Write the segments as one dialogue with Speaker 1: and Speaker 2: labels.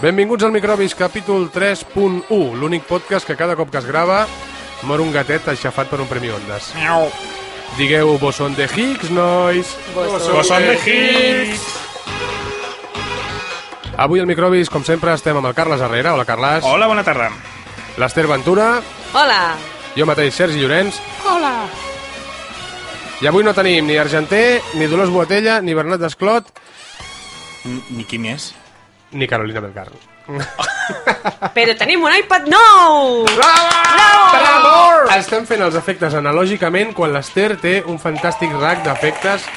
Speaker 1: Benvinguts al Microbis, capítol 3.1, l'únic podcast que cada cop que es grava mor un gatet aixafat per un premi Ondas.
Speaker 2: Miau.
Speaker 1: Digueu, vos són de Higgs, nois!
Speaker 2: Bosson de Higgs.
Speaker 1: Avui al Microbis, com sempre, estem amb el Carles Herrera. Hola, Carles.
Speaker 2: Hola, bona tarda.
Speaker 1: L'Ester Ventura,
Speaker 3: Hola!
Speaker 1: jo mateix, Sergi Llorenç. Hola! I avui no tenim ni Argenter, ni Dolors Boatella, ni Bernat Desclot,
Speaker 2: N- Ni quin és?
Speaker 1: ni Carolina Belgar.
Speaker 3: Però tenim un iPad nou!
Speaker 1: Bravo! Bravo! Estem fent els efectes analògicament quan l'Ester té un fantàstic rack d'efectes.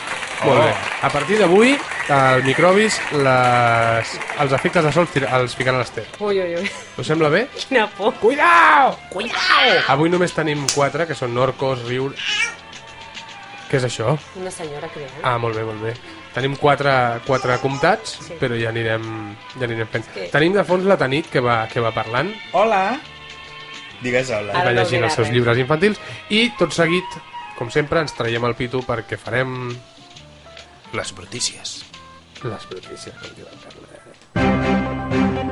Speaker 1: Molt bé. A partir d'avui, al Microbis, les... els efectes de sol tir- els ficarà l'Ester.
Speaker 3: Ui, ui, ui,
Speaker 1: Us sembla bé?
Speaker 3: quina por.
Speaker 1: Cuidao! Cuidao! Avui només tenim quatre, que són Norcos, Riur... Què és això?
Speaker 3: Una senyora eh? creant.
Speaker 1: Ah, molt bé, molt bé. Tenim quatre, quatre comptats,
Speaker 3: Sí.
Speaker 1: però ja anirem, ja anirem fent.
Speaker 3: que-
Speaker 1: Tenim de fons la Tanit, que va, que va parlant,
Speaker 2: Hola. Digues hola.
Speaker 3: Ara
Speaker 1: va
Speaker 3: no
Speaker 1: llegint
Speaker 3: dirà
Speaker 1: els seus
Speaker 3: res.
Speaker 1: llibres infantils i tot seguit, com sempre, ens traiem el pitu perquè farem
Speaker 2: Les brutícies.
Speaker 1: les brutícies, com diu el Carles.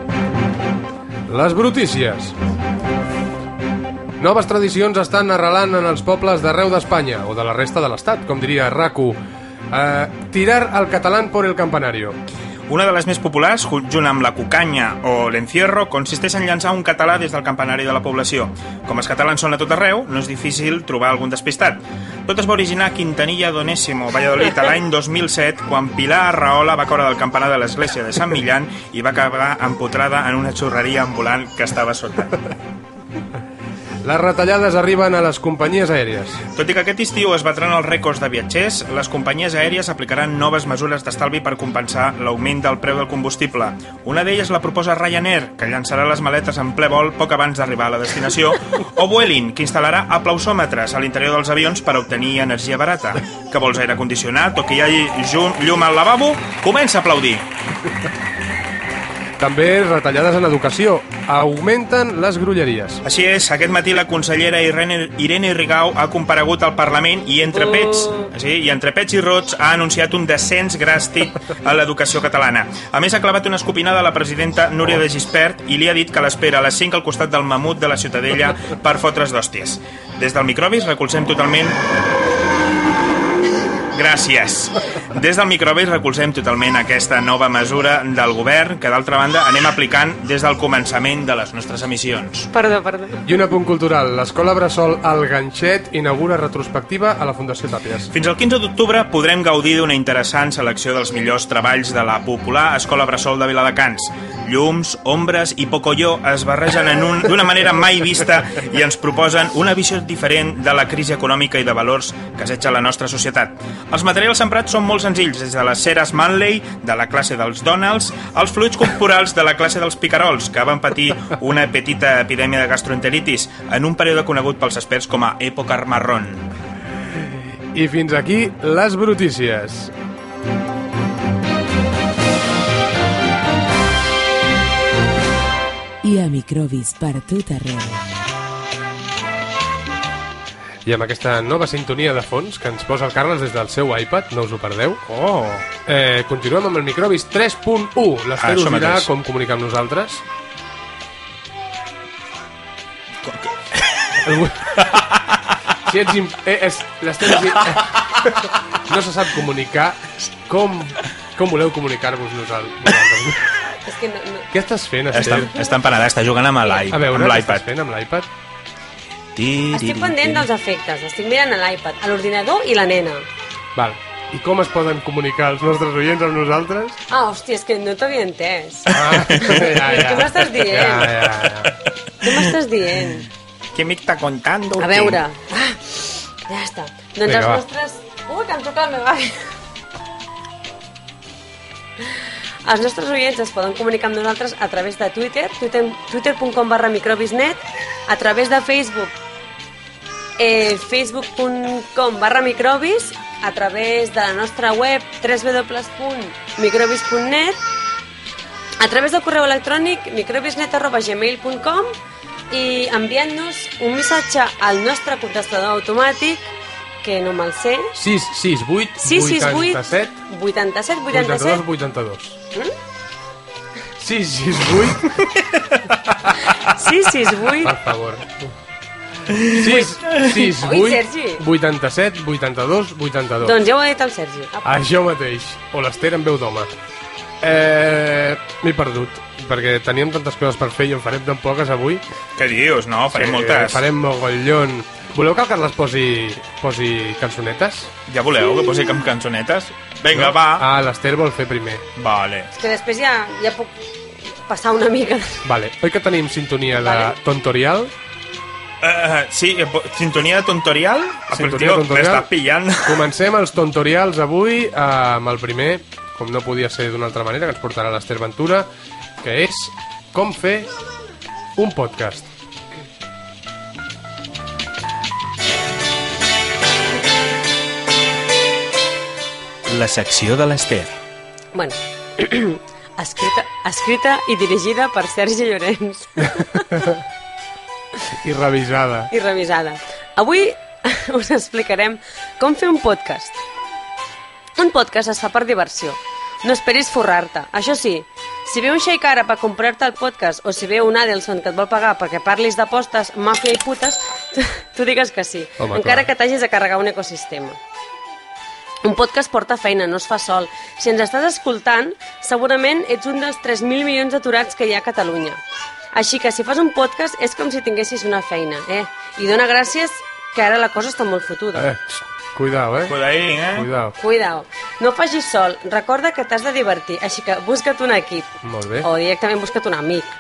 Speaker 1: Les brutícies. Noves tradicions estan arrelant en els pobles d'arreu d'Espanya, o de la resta de l'Estat, com diria RACU. Eh, tirar al catalán por el campanario.
Speaker 2: Una de les més populars, junt amb la cucanya o l'encierro, consisteix en llançar un català des del campanari de la població. Com els catalans són a tot arreu, no és difícil trobar algun despistat. Tot es va originar a Quintanilla d'Onésimo, Valladolid, a l'any 2007, quan Pilar Rahola va caure del campanar de l'església de Sant Millán i va acabar empotrada en una xurreria ambulant que estava sota.
Speaker 1: Les retallades arriben a les companyies aèries.
Speaker 2: Tot i que aquest estiu es batran els rècords de viatgers, les companyies aèries aplicaran noves mesures d'estalvi per compensar l'augment del preu del combustible. Una d'elles la proposa Ryanair, que llançarà les maletes en ple vol poc abans d'arribar a la destinació, o Vueling, que instal·larà aplausòmetres a l'interior dels avions per obtenir energia barata. Que vols aire condicionat o que hi hagi ju- llum al lavabo? Comença a aplaudir!
Speaker 1: També retallades en educació. Augmenten les grolleries.
Speaker 2: Així és, aquest matí la consellera Irene, Irene Rigau ha comparegut al Parlament i entre pets,
Speaker 3: Uh.
Speaker 2: sí, i entre pets i rots ha anunciat un descens gràstic a l'educació catalana. A més, ha clavat una escopinada a la presidenta Núria de Gispert i li ha dit que l'espera a les 5 al costat del mamut de la Ciutadella per fotre's d'hòsties. Des del microbis recolzem totalment Gràcies. Des del Microbis recolzem totalment aquesta nova mesura del govern que, d'altra banda, anem aplicant des del començament de les nostres emissions.
Speaker 3: Perdó, perdó.
Speaker 1: I un apunt cultural. L'escola Bressol El Ganxet inaugura retrospectiva a la Fundació Tàpies.
Speaker 2: Fins al 15 d'octubre podrem gaudir d'una interessant selecció dels millors treballs de la popular Escola Bressol de Viladecans. Llums, ombres i pocolló es barregen en un d'una manera mai vista i ens proposen una visió diferent de la crisi econòmica i de valors que assetja la nostra societat. Els materials emprats són molt senzills, des de les ceres Manley, de la classe dels Donalds, als fluids corporals de la classe dels picarols, que van patir una petita epidèmia de gastroenteritis en un període conegut pels experts com a època marrón.
Speaker 1: I fins aquí les brutícies.
Speaker 4: i a microbis per tot arreu.
Speaker 1: I amb aquesta nova sintonia de fons que ens posa el Carles des del seu iPad, no us ho perdeu. Oh! Eh, continuem amb el Microbis 3.1. L'Ester
Speaker 2: Això
Speaker 1: us dirà
Speaker 2: mateix.
Speaker 1: com comunicar amb nosaltres. Algú- si ets... im- Eh, és... L'Ester és... im- no se sap comunicar. Com, com voleu comunicar-vos nosal- nosaltres?
Speaker 3: És que no, no.
Speaker 1: Què estàs fent,
Speaker 2: Està,
Speaker 1: Esther?
Speaker 2: està empanada, està jugant amb l'i-
Speaker 1: A
Speaker 2: amb
Speaker 1: veure, què estàs
Speaker 2: l'iPad.
Speaker 1: fent amb l'iPad?
Speaker 3: Estic pendent dels efectes. Estic mirant a l'iPad, a l'ordinador i la nena.
Speaker 1: Val. I com es poden comunicar els nostres oients amb nosaltres?
Speaker 3: Ah, hòstia, és que no t'havia entès.
Speaker 1: Ah, ja,
Speaker 3: Però què m'estàs dient?
Speaker 1: Ja, ja, ja.
Speaker 3: Què m'estàs dient?
Speaker 2: Què m'està contant?
Speaker 3: A veure. Ah, ja està. Doncs
Speaker 1: Vinga,
Speaker 3: els
Speaker 1: va.
Speaker 3: nostres... Ui, que em truca el meu avi. Els nostres oients es poden comunicar amb nosaltres a través de Twitter, twitter twitter.com barra microbisnet, a través de Facebook, eh, facebook.com barra microbis, a través de la nostra web www.microbis.net, a través del correu electrònic microbisnet.gmail.com i enviant-nos un missatge al nostre contestador automàtic, que no me'l sé,
Speaker 1: 6, 6, 8, 6,
Speaker 3: 668
Speaker 1: 87,
Speaker 3: 87
Speaker 1: 82,
Speaker 3: 87 Hm?
Speaker 1: 82. 668,
Speaker 3: Sí, sí, és vuit.
Speaker 1: per favor. 6, 6,
Speaker 3: Ui, Sergi.
Speaker 1: 8, 87, 82, 82.
Speaker 3: Doncs ja ho ha dit el Sergi. Apa.
Speaker 1: Això mateix. O l'Ester en veu d'home. Eh, M'he perdut, perquè teníem tantes coses per fer i en farem tan poques avui.
Speaker 5: Què dius? No, farem
Speaker 1: Eh,
Speaker 5: moltes.
Speaker 1: farem mogollon. Voleu que el Carles posi, posi cançonetes?
Speaker 5: Ja voleu que posi amb cançonetes? Vinga, va.
Speaker 1: Ah, l'Ester vol fer primer.
Speaker 5: Vale.
Speaker 3: És que després ja, ja puc passar una mica.
Speaker 1: Vale. Oi que tenim sintonia de
Speaker 3: Vale.
Speaker 1: Tontorial?
Speaker 5: Uh, sí, eh, po- sintonia de tontorial? Ah, però,
Speaker 1: Sintonia
Speaker 5: tio,
Speaker 1: tontorial.
Speaker 5: M'estàs pillant.
Speaker 1: Comencem els Tontorials avui eh, amb el primer, com no podia ser d'una altra manera, que ens portarà l'Ester Ventura, que és com fer un podcast.
Speaker 5: La secció de l'Ester.
Speaker 3: Bueno, escrita, escrita i dirigida per Sergi Llorenç
Speaker 1: I revisada.
Speaker 3: i revisada. Avui us explicarem com fer un podcast. Un podcast es fa per diversió. No esperis forrar-te. Això sí, si ve un xeic ara per comprar-te el podcast o si ve un Adelson que et vol pagar perquè parlis d'apostes, màfia i putes, tu- tu digues que sí,
Speaker 1: Home,
Speaker 3: encara
Speaker 1: clar.
Speaker 3: que t'hagis de carregar un ecosistema. Un podcast porta feina, no es fa sol. Si ens estàs escoltant, segurament ets un dels 3.000 milions d'aturats que hi ha a Catalunya. Així que si fas un podcast és com si tinguessis una feina, eh? I dona gràcies que ara la cosa està molt fotuda.
Speaker 1: Eh, cuidao, eh?
Speaker 5: Cuidaí, eh?
Speaker 1: Cuidao.
Speaker 3: Cuidao, no facis sol, recorda que t'has de divertir, així que busca't un equip.
Speaker 1: Molt bé.
Speaker 3: O directament busca't un amic.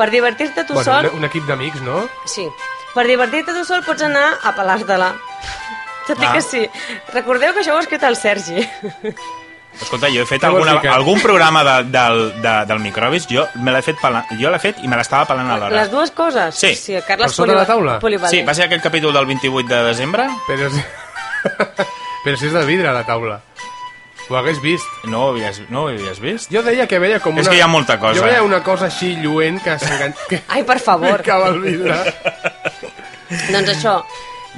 Speaker 3: Per divertir-te tu
Speaker 1: bueno,
Speaker 3: sol...
Speaker 1: un, un equip d'amics, no?
Speaker 3: Sí. Per divertir-te tu sol pots anar a pelar-te-la. Tot i
Speaker 5: Ah.
Speaker 3: que sí. Recordeu que això ho ha escrit el Sergi.
Speaker 5: Escolta, jo he fet
Speaker 1: Què vols
Speaker 5: alguna,
Speaker 1: dir, que-
Speaker 5: algun programa de, del, de, del microbis, jo me l'he fet pelant, jo l'he fet i me l'estava pelant a l'hora.
Speaker 3: Les dues coses?
Speaker 5: Sí.
Speaker 3: sí el Carles
Speaker 1: Per sota la
Speaker 3: poliva-
Speaker 1: taula?
Speaker 3: polivalent.
Speaker 5: Sí, va ser aquell capítol del 28 de desembre?
Speaker 1: Però si... Però si és de vidre, la taula. Ho hagués vist.
Speaker 5: No ho havies, no ho havies vist?
Speaker 1: Jo deia que veia com una...
Speaker 5: És que hi ha molta cosa,
Speaker 1: Jo
Speaker 5: eh?
Speaker 1: veia una cosa així lluent que s'engan... que
Speaker 3: Ai, per favor.
Speaker 1: ficava al vidre.
Speaker 3: doncs això,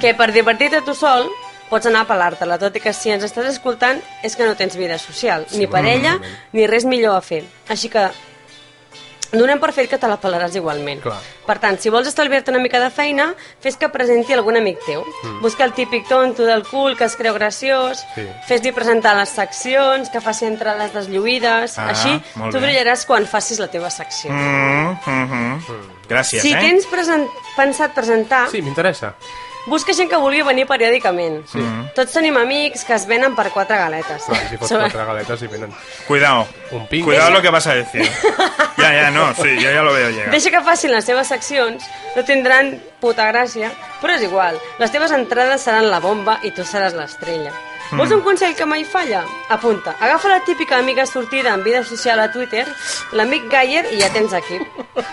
Speaker 3: que per divertir-te tu sol pots anar a pelar-te-la, tot i que si ens estàs escoltant és que no tens vida social, ni parella, ni res millor a fer. Així que donem per fet que te la pelaràs igualment.
Speaker 1: Clar.
Speaker 3: Per tant, si vols estalviar-te una mica de feina, fes que presenti algun amic teu. Mm. Busca el típic tonto del cul que es creu graciós,
Speaker 1: Sí.
Speaker 3: fes-li presentar les seccions, que faci entrades deslluïdes...
Speaker 5: Ah,
Speaker 3: Així,
Speaker 5: molt
Speaker 3: tu
Speaker 5: bé.
Speaker 3: brillaràs quan facis la teva secció.
Speaker 5: Mm, mm -hmm. Gràcies,
Speaker 3: Si
Speaker 5: eh?
Speaker 3: tens present, pensat presentar,
Speaker 1: Sí, m'interessa.
Speaker 3: busca gent que vulgui venir periòdicament. Sí. Tots tenim amics que es venen per quatre galetes.
Speaker 1: Clar, si fots
Speaker 3: Sobre-
Speaker 1: quatre galetes i venen
Speaker 5: Cuidao.
Speaker 1: un ping.
Speaker 5: Cuidado lo que vas a decir. ya, ya, no, sí, yo ya lo veo llegar.
Speaker 3: Deixa que facin les seves seccions, no tindran puta gràcia, però és igual. Les teves entrades seran la bomba i tu seràs l'estrella. Vols un consell que mai falla? Apunta. Agafa la típica amiga sortida en vida social a Twitter, l'amic Gayer, i ja tens equip.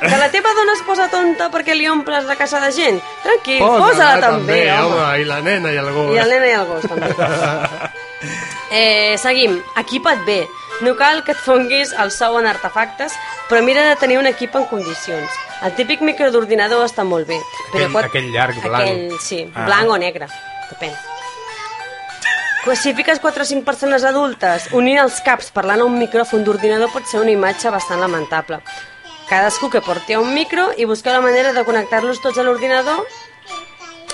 Speaker 3: Que la teva dona es posa tonta perquè li omples la casa de gent? Tranquil, posa-la, també, home.
Speaker 1: I la nena i el gos.
Speaker 3: I el nen i el gos, també. Eh, seguim. Equipa't bé. No cal que et fonguis el sou en artefactes, però mira de tenir un equip en condicions. El típic micro d'ordinador està molt bé. Però
Speaker 1: Aquell- aquell llarg, blanc.
Speaker 3: Aquell, sí,
Speaker 5: Ah.
Speaker 3: blanc o negre. Depèn. Classifiques 4 o 5 persones adultes, unint els caps parlant a un micròfon d'ordinador pot ser una imatge bastant lamentable. Cadascú que porti un micro i buscar la manera de connectar-los tots a l'ordinador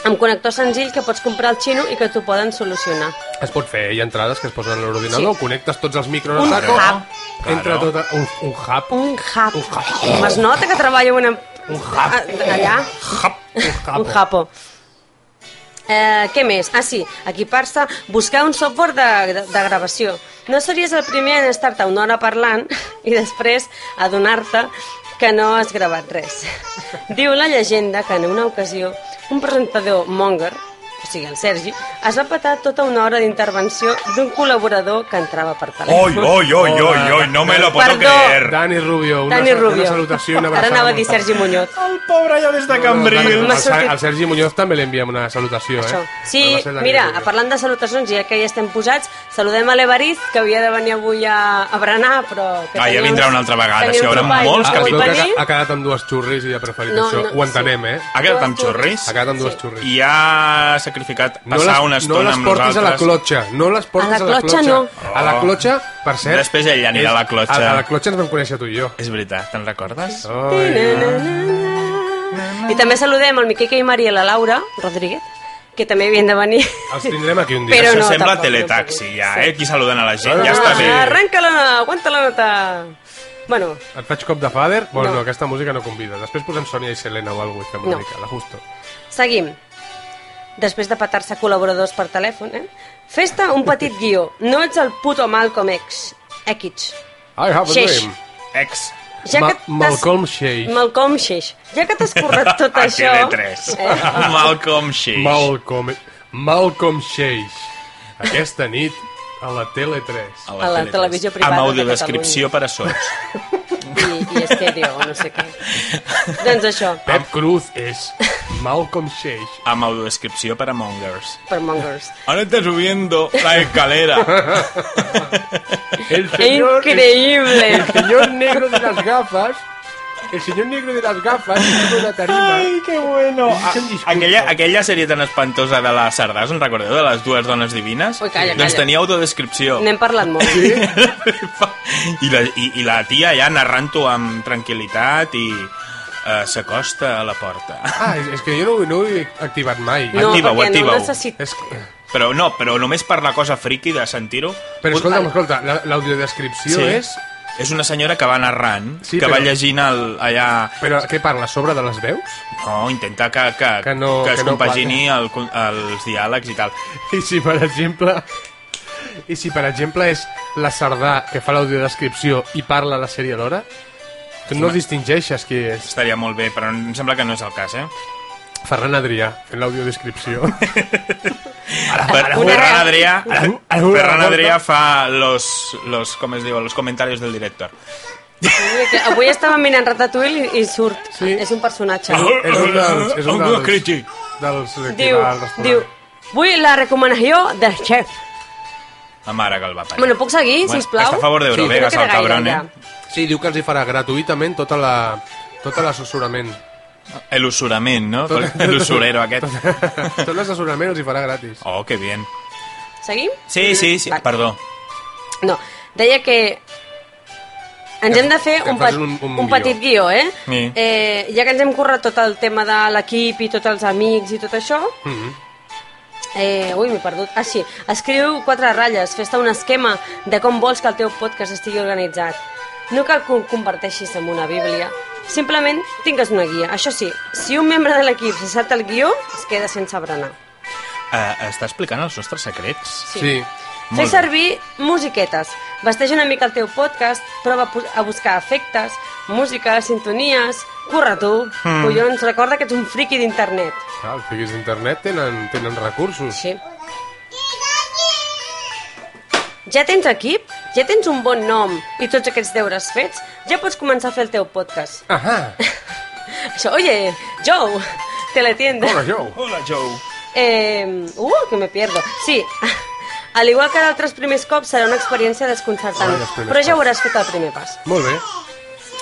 Speaker 3: amb connector senzill que pots comprar al xino i que t'ho poden solucionar.
Speaker 1: Es pot fer, hi ha entrades que es posen a l'ordinador,
Speaker 3: Sí.
Speaker 1: connectes tots els micros
Speaker 3: Un
Speaker 1: a saco,
Speaker 3: hub.
Speaker 1: entra
Speaker 5: Claro.
Speaker 1: tot... A... Un, un hub?
Speaker 3: Un hub.
Speaker 1: Un hub.
Speaker 3: Es nota que treballo una...
Speaker 1: Un hub.
Speaker 3: A- Ah, Allà?
Speaker 1: Un hub.
Speaker 3: Un japo. Eh, què més? Ah, sí, equipar-se, buscar un software de, de, de gravació. No series el primer en estar-te una hora parlant i després adonar-te que no has gravat res. Diu la llegenda que en una ocasió un presentador monger, o sigui, el Sergi, es va petar tota una hora d'intervenció d'un col·laborador que entrava per telèfon.
Speaker 5: Hoy, hoy, hoy, hoy, hoy, no me lo puedo
Speaker 3: Perdó.
Speaker 5: creer.
Speaker 1: Dani Rubio, una,
Speaker 3: Dani Rubio.
Speaker 1: una salutació i una
Speaker 3: Ara
Speaker 1: abraçada.
Speaker 3: anava a dir
Speaker 1: molt
Speaker 3: Sergi Muñoz.
Speaker 5: El pobre ja des de Cambril.
Speaker 1: Al,
Speaker 3: M'ha sortit-
Speaker 1: al Sergi Muñoz també li enviem una salutació,
Speaker 3: Això.
Speaker 1: eh?
Speaker 3: Sí,
Speaker 1: No va ser la
Speaker 3: mira,
Speaker 1: Guerrero.
Speaker 3: parlant de salutacions, ja que hi estem posats, saludem a l'Evarist, que havia de venir avui a, a berenar, però... Que
Speaker 5: Ah, ja
Speaker 3: tenia
Speaker 5: vindrà
Speaker 3: uns-
Speaker 5: una altra vegada,
Speaker 3: tenia
Speaker 5: si
Speaker 3: uns
Speaker 5: hi haurà
Speaker 3: topalls,
Speaker 5: molts
Speaker 1: Ah,
Speaker 3: no
Speaker 1: es
Speaker 3: pot
Speaker 1: veu
Speaker 5: capítols.
Speaker 1: que
Speaker 3: venir.
Speaker 1: ha, ha quedat amb dues xurris i ha preferit
Speaker 3: No,
Speaker 1: això.
Speaker 3: no,
Speaker 1: Ho entenem,
Speaker 3: sí.
Speaker 1: eh?
Speaker 5: Ha quedat amb xurris
Speaker 1: Ha quedat amb dues
Speaker 3: Sí.
Speaker 1: xurris.
Speaker 5: i ja
Speaker 2: sacrificat
Speaker 1: No
Speaker 2: passar
Speaker 1: les,
Speaker 2: una
Speaker 1: no
Speaker 2: estona
Speaker 1: les
Speaker 2: amb
Speaker 1: portis a la
Speaker 2: nosaltres. Oh.
Speaker 1: clotxa. No les portis
Speaker 3: A la clotxa,
Speaker 1: No. A la clotxa, per cert...
Speaker 2: Després ell anirà
Speaker 1: és-
Speaker 2: a la clotxa.
Speaker 1: A, a la clotxa ens vam conèixer tu i jo.
Speaker 2: És veritat, te'n recordes?
Speaker 1: Ai,
Speaker 3: I també saludem el Miquel i Maria i la Laura Rodríguez, que també havien de venir.
Speaker 1: els tindrem aquí un dia.
Speaker 3: Però
Speaker 2: Això
Speaker 3: no,
Speaker 2: sembla
Speaker 3: tampoc,
Speaker 2: teletaxi,
Speaker 3: no
Speaker 2: ja,
Speaker 3: sé.
Speaker 2: eh? Aquí saluden a la gent, ja
Speaker 1: Ah,
Speaker 2: està bé.
Speaker 3: Arranca la nota, aguanta la nota. Bueno,
Speaker 1: Et faig cop de fader? Bueno,
Speaker 3: No.
Speaker 1: no. aquesta música no convida. Després posem Sònia i Selena o alguna cosa.
Speaker 3: No.
Speaker 1: No. La justo.
Speaker 3: seguim. Després de petar-se col·laboradors per telèfon, eh? Festa un petit guió. No ets el puto Malcolm X. X.
Speaker 1: I have a
Speaker 3: Xeix.
Speaker 1: dream.
Speaker 2: Ex.
Speaker 1: Ma-
Speaker 3: t'has-
Speaker 1: Malcolm Xeix.
Speaker 3: Malcolm Xeix. Ja que t'has currat tot
Speaker 2: A
Speaker 3: això... eh?
Speaker 2: TV3. Malcolm Shea.
Speaker 1: Malcolm... Malcolm Xeix. Aquesta nit a la Tele3.
Speaker 3: A la televisió privada
Speaker 2: Amb
Speaker 3: de
Speaker 2: audiodescripció per a sords.
Speaker 3: I, i estèreo, o no sé què. doncs això,
Speaker 1: Pep Cruz és Malcolm Xeix.
Speaker 2: Amb audiodescripció per a mongers.
Speaker 3: per Mongers.
Speaker 2: Ahora está subiendo la escalera.
Speaker 1: El senyor...
Speaker 3: Increïble!
Speaker 1: El señor negro de las gafas. El señor negro de las gafas sube una tarima.
Speaker 2: qué bueno.
Speaker 1: Ah, disculpa.
Speaker 2: Aquella, aquella sèrie tan espantosa de la Sardàs, en recordeu? De les dues dones divines?
Speaker 3: Ui, calla,
Speaker 2: Doncs
Speaker 3: calla.
Speaker 2: tenia autodescripció.
Speaker 3: N'hem parlat molt.
Speaker 2: I, la, i, I la tia ja narrant-ho amb tranquil·litat i eh, s'acosta a la porta.
Speaker 1: Ah, és, és que jo no, ho- no ho he activat mai.
Speaker 3: No,
Speaker 2: Activa-ho,
Speaker 3: perquè no
Speaker 2: activa-ho.
Speaker 3: necessit...
Speaker 1: És que...
Speaker 2: Però no, però només per la cosa friki de sentir-ho...
Speaker 1: Però escolta'm, escolta, la- l'audiodescripció sí. és...
Speaker 2: És una senyora que va narrant,
Speaker 1: Sí,
Speaker 2: que
Speaker 1: però-
Speaker 2: va llegint el, allà...
Speaker 1: Però què parla, sobre de les veus?
Speaker 2: No, intenta que, que,
Speaker 1: Que no-
Speaker 2: que es
Speaker 1: que no
Speaker 2: compagini el, con- els diàlegs i tal.
Speaker 1: I si, per exemple... I si, per exemple, és la Sardà que fa l'audiodescripció i parla la sèrie alhora? Tu no distingeixes qui és.
Speaker 2: Estaria molt bé, però em sembla que no és el cas, eh?
Speaker 1: Ferran Adrià, fent l'audiodescripció.
Speaker 2: Per,
Speaker 3: una-
Speaker 2: Ferran Adrià,
Speaker 1: Ara- ara una
Speaker 2: Ferran
Speaker 1: porta.
Speaker 2: Adrià fa los, los, com es diu, los comentarios del director.
Speaker 3: Que Avui estava mirant Ratatouille i, i surt.
Speaker 1: Sí.
Speaker 3: És un personatge.
Speaker 1: és un dels... És un
Speaker 2: Un
Speaker 1: dels,
Speaker 2: crític.
Speaker 1: dels que
Speaker 3: Diu,
Speaker 1: va al restaurant.
Speaker 3: diu, vull la recomanació del xef.
Speaker 2: La mare que el va parir.
Speaker 3: Bueno, puc seguir,
Speaker 2: Bueno,
Speaker 3: sisplau?
Speaker 2: està a favor d'Eurovegas,
Speaker 3: Sí, no
Speaker 2: el
Speaker 3: queda gaire,
Speaker 2: cabron, eh?
Speaker 3: ja.
Speaker 1: Sí, diu que els hi farà gratuïtament tota la tot l'assessorament.
Speaker 2: El usurament, no? El usurero aquest.
Speaker 1: Tot l'assessorament els hi farà gratis.
Speaker 2: Oh, que bien.
Speaker 3: Seguim?
Speaker 2: Sí, sí, sí,
Speaker 3: Vale.
Speaker 2: perdó.
Speaker 3: No, deia que ens
Speaker 1: Que-
Speaker 3: hem de fer
Speaker 1: que
Speaker 3: un,
Speaker 1: fas
Speaker 3: pet,
Speaker 1: un-
Speaker 3: un,
Speaker 1: un guió.
Speaker 3: petit guió, eh?
Speaker 2: Sí.
Speaker 3: eh? Ja que ens hem currat tot el tema de l'equip i tots els amics i tot això,
Speaker 1: Mm -hmm.
Speaker 3: eh, ui, m'he perdut. Ah, sí, escriu quatre ratlles, fes-te un esquema de com vols que el teu podcast estigui organitzat. No cal que ho converteixis en una bíblia, simplement tingues una guia. Això sí, si un membre de l'equip se salta el guió, es queda sense berenar.
Speaker 2: Eh, està explicant els nostres secrets.
Speaker 1: sí.
Speaker 3: Sí.
Speaker 1: sí.
Speaker 2: Molt
Speaker 3: Fes
Speaker 2: bé.
Speaker 3: servir musiquetes. Vesteix una mica el teu podcast, prova a pos- a buscar efectes, música, sintonies... Corre tu! Mm. Collons, recorda que ets un friqui d'internet.
Speaker 1: Ah, els fiquis d'internet tenen, tenen recursos.
Speaker 3: Sí. Ja tens equip? Ja tens un bon nom i tots aquests deures fets? Ja pots començar a fer el teu podcast.
Speaker 1: Ahà,
Speaker 3: Això, oye, Joe, teletienda.
Speaker 1: hola, jo.
Speaker 2: Hola, Joe.
Speaker 3: Eh, uh, que me pierdo. Sí, al igual que d'altres primers cops serà una experiència desconcertant,
Speaker 1: Ai, els primers
Speaker 3: però ja
Speaker 1: cops.
Speaker 3: hauràs fet el primer pas.
Speaker 1: Molt bé.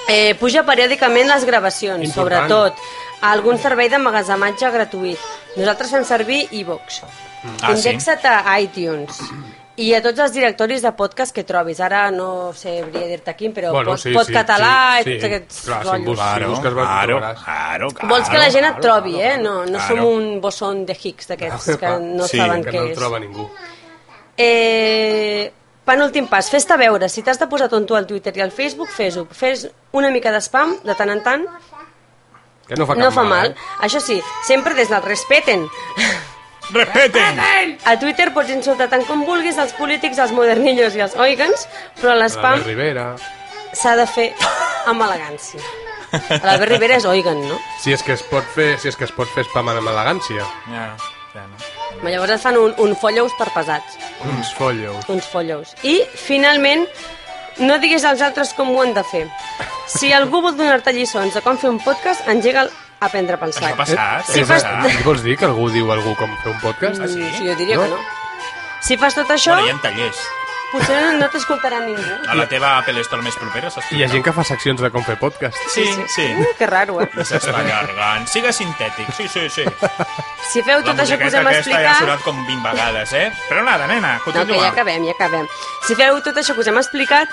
Speaker 3: Eh, puja periòdicament les gravacions,
Speaker 1: Important.
Speaker 3: sobretot a algun servei d'emmagazematge gratuït. Nosaltres fem servir iVox.
Speaker 2: Ah, sí?
Speaker 3: Indexa't a iTunes i a tots els directoris de podcast que trobis. Ara no sé, hauria dir-te quin, però
Speaker 1: Bueno,
Speaker 3: pot,
Speaker 1: sí,
Speaker 3: pot
Speaker 1: sí,
Speaker 3: català...
Speaker 1: sí,
Speaker 3: i
Speaker 1: sí.
Speaker 3: tots aquests
Speaker 1: Clar, si em
Speaker 3: rotllos.
Speaker 1: busques-
Speaker 2: Claro,
Speaker 1: busques, vas-
Speaker 2: claro,
Speaker 1: trobaràs.
Speaker 2: claro, claro.
Speaker 3: Vols que la gent et
Speaker 1: claro,
Speaker 3: trobi,
Speaker 1: claro,
Speaker 3: eh? No, no
Speaker 2: claro.
Speaker 3: som un bosson de hicks d'aquests que no
Speaker 2: Sí,
Speaker 3: saben
Speaker 1: que
Speaker 3: què
Speaker 1: no el
Speaker 3: és.
Speaker 1: troba ningú.
Speaker 3: Eh, penúltim pas, fes-te veure. Si t'has de posar tonto al Twitter i al Facebook, fes-ho. Fes una mica d'espam, de tant en tant,
Speaker 1: Que no fa cap
Speaker 3: no fa
Speaker 1: mal.
Speaker 3: mal. Això sí, sempre des del respeten.
Speaker 2: Respeten!
Speaker 3: Ah, A Twitter pots insultar tant com vulguis els polítics, els modernillos i els oigans, però
Speaker 1: L'Albert
Speaker 3: l'espam
Speaker 1: Rivera.
Speaker 3: s'ha de fer amb elegància. L'Albert Rivera és oigan, no?
Speaker 1: Si és que es pot fer, si és que es pot fer spam amb elegància.
Speaker 3: ah.
Speaker 2: Ja, ja no.
Speaker 3: Però Llavors et fan un, un follows per pesats.
Speaker 1: Uns follows.
Speaker 3: uns follows. I, finalment, no diguis als altres com ho han de fer. Si algú vol donar-te lliçons de com fer un podcast, engega'l a prendre pel
Speaker 2: Això ha
Speaker 3: sac.
Speaker 2: passat?
Speaker 1: Eh, Ah, Sí,
Speaker 2: Sí,
Speaker 1: és,
Speaker 2: fas...
Speaker 1: a- vols dir que algú diu a algú com fer un podcast?
Speaker 3: Mm, sí, jo diria
Speaker 1: No?
Speaker 3: que no. Si fas tot això,
Speaker 2: Bueno, hi ha tallers.
Speaker 3: potser no t'escoltarà ningú.
Speaker 2: A la teva Apple Store més propera saps?
Speaker 1: Hi ha gent que fa seccions de com fer podcast.
Speaker 2: Sí, sí.
Speaker 3: Uh, que raro, eh?
Speaker 2: I s'està allargant. Siga sintètic, sí, sí, sí.
Speaker 3: Si feu
Speaker 2: La
Speaker 3: tot això que us
Speaker 2: musiqueta
Speaker 3: hem
Speaker 2: aquesta ja ha
Speaker 3: explicat...
Speaker 2: sonat com 20 vegades, eh? Però nada, nena,
Speaker 3: No, que
Speaker 2: continua.
Speaker 3: ja acabem, ja acabem. Si feu tot això que us hem explicat,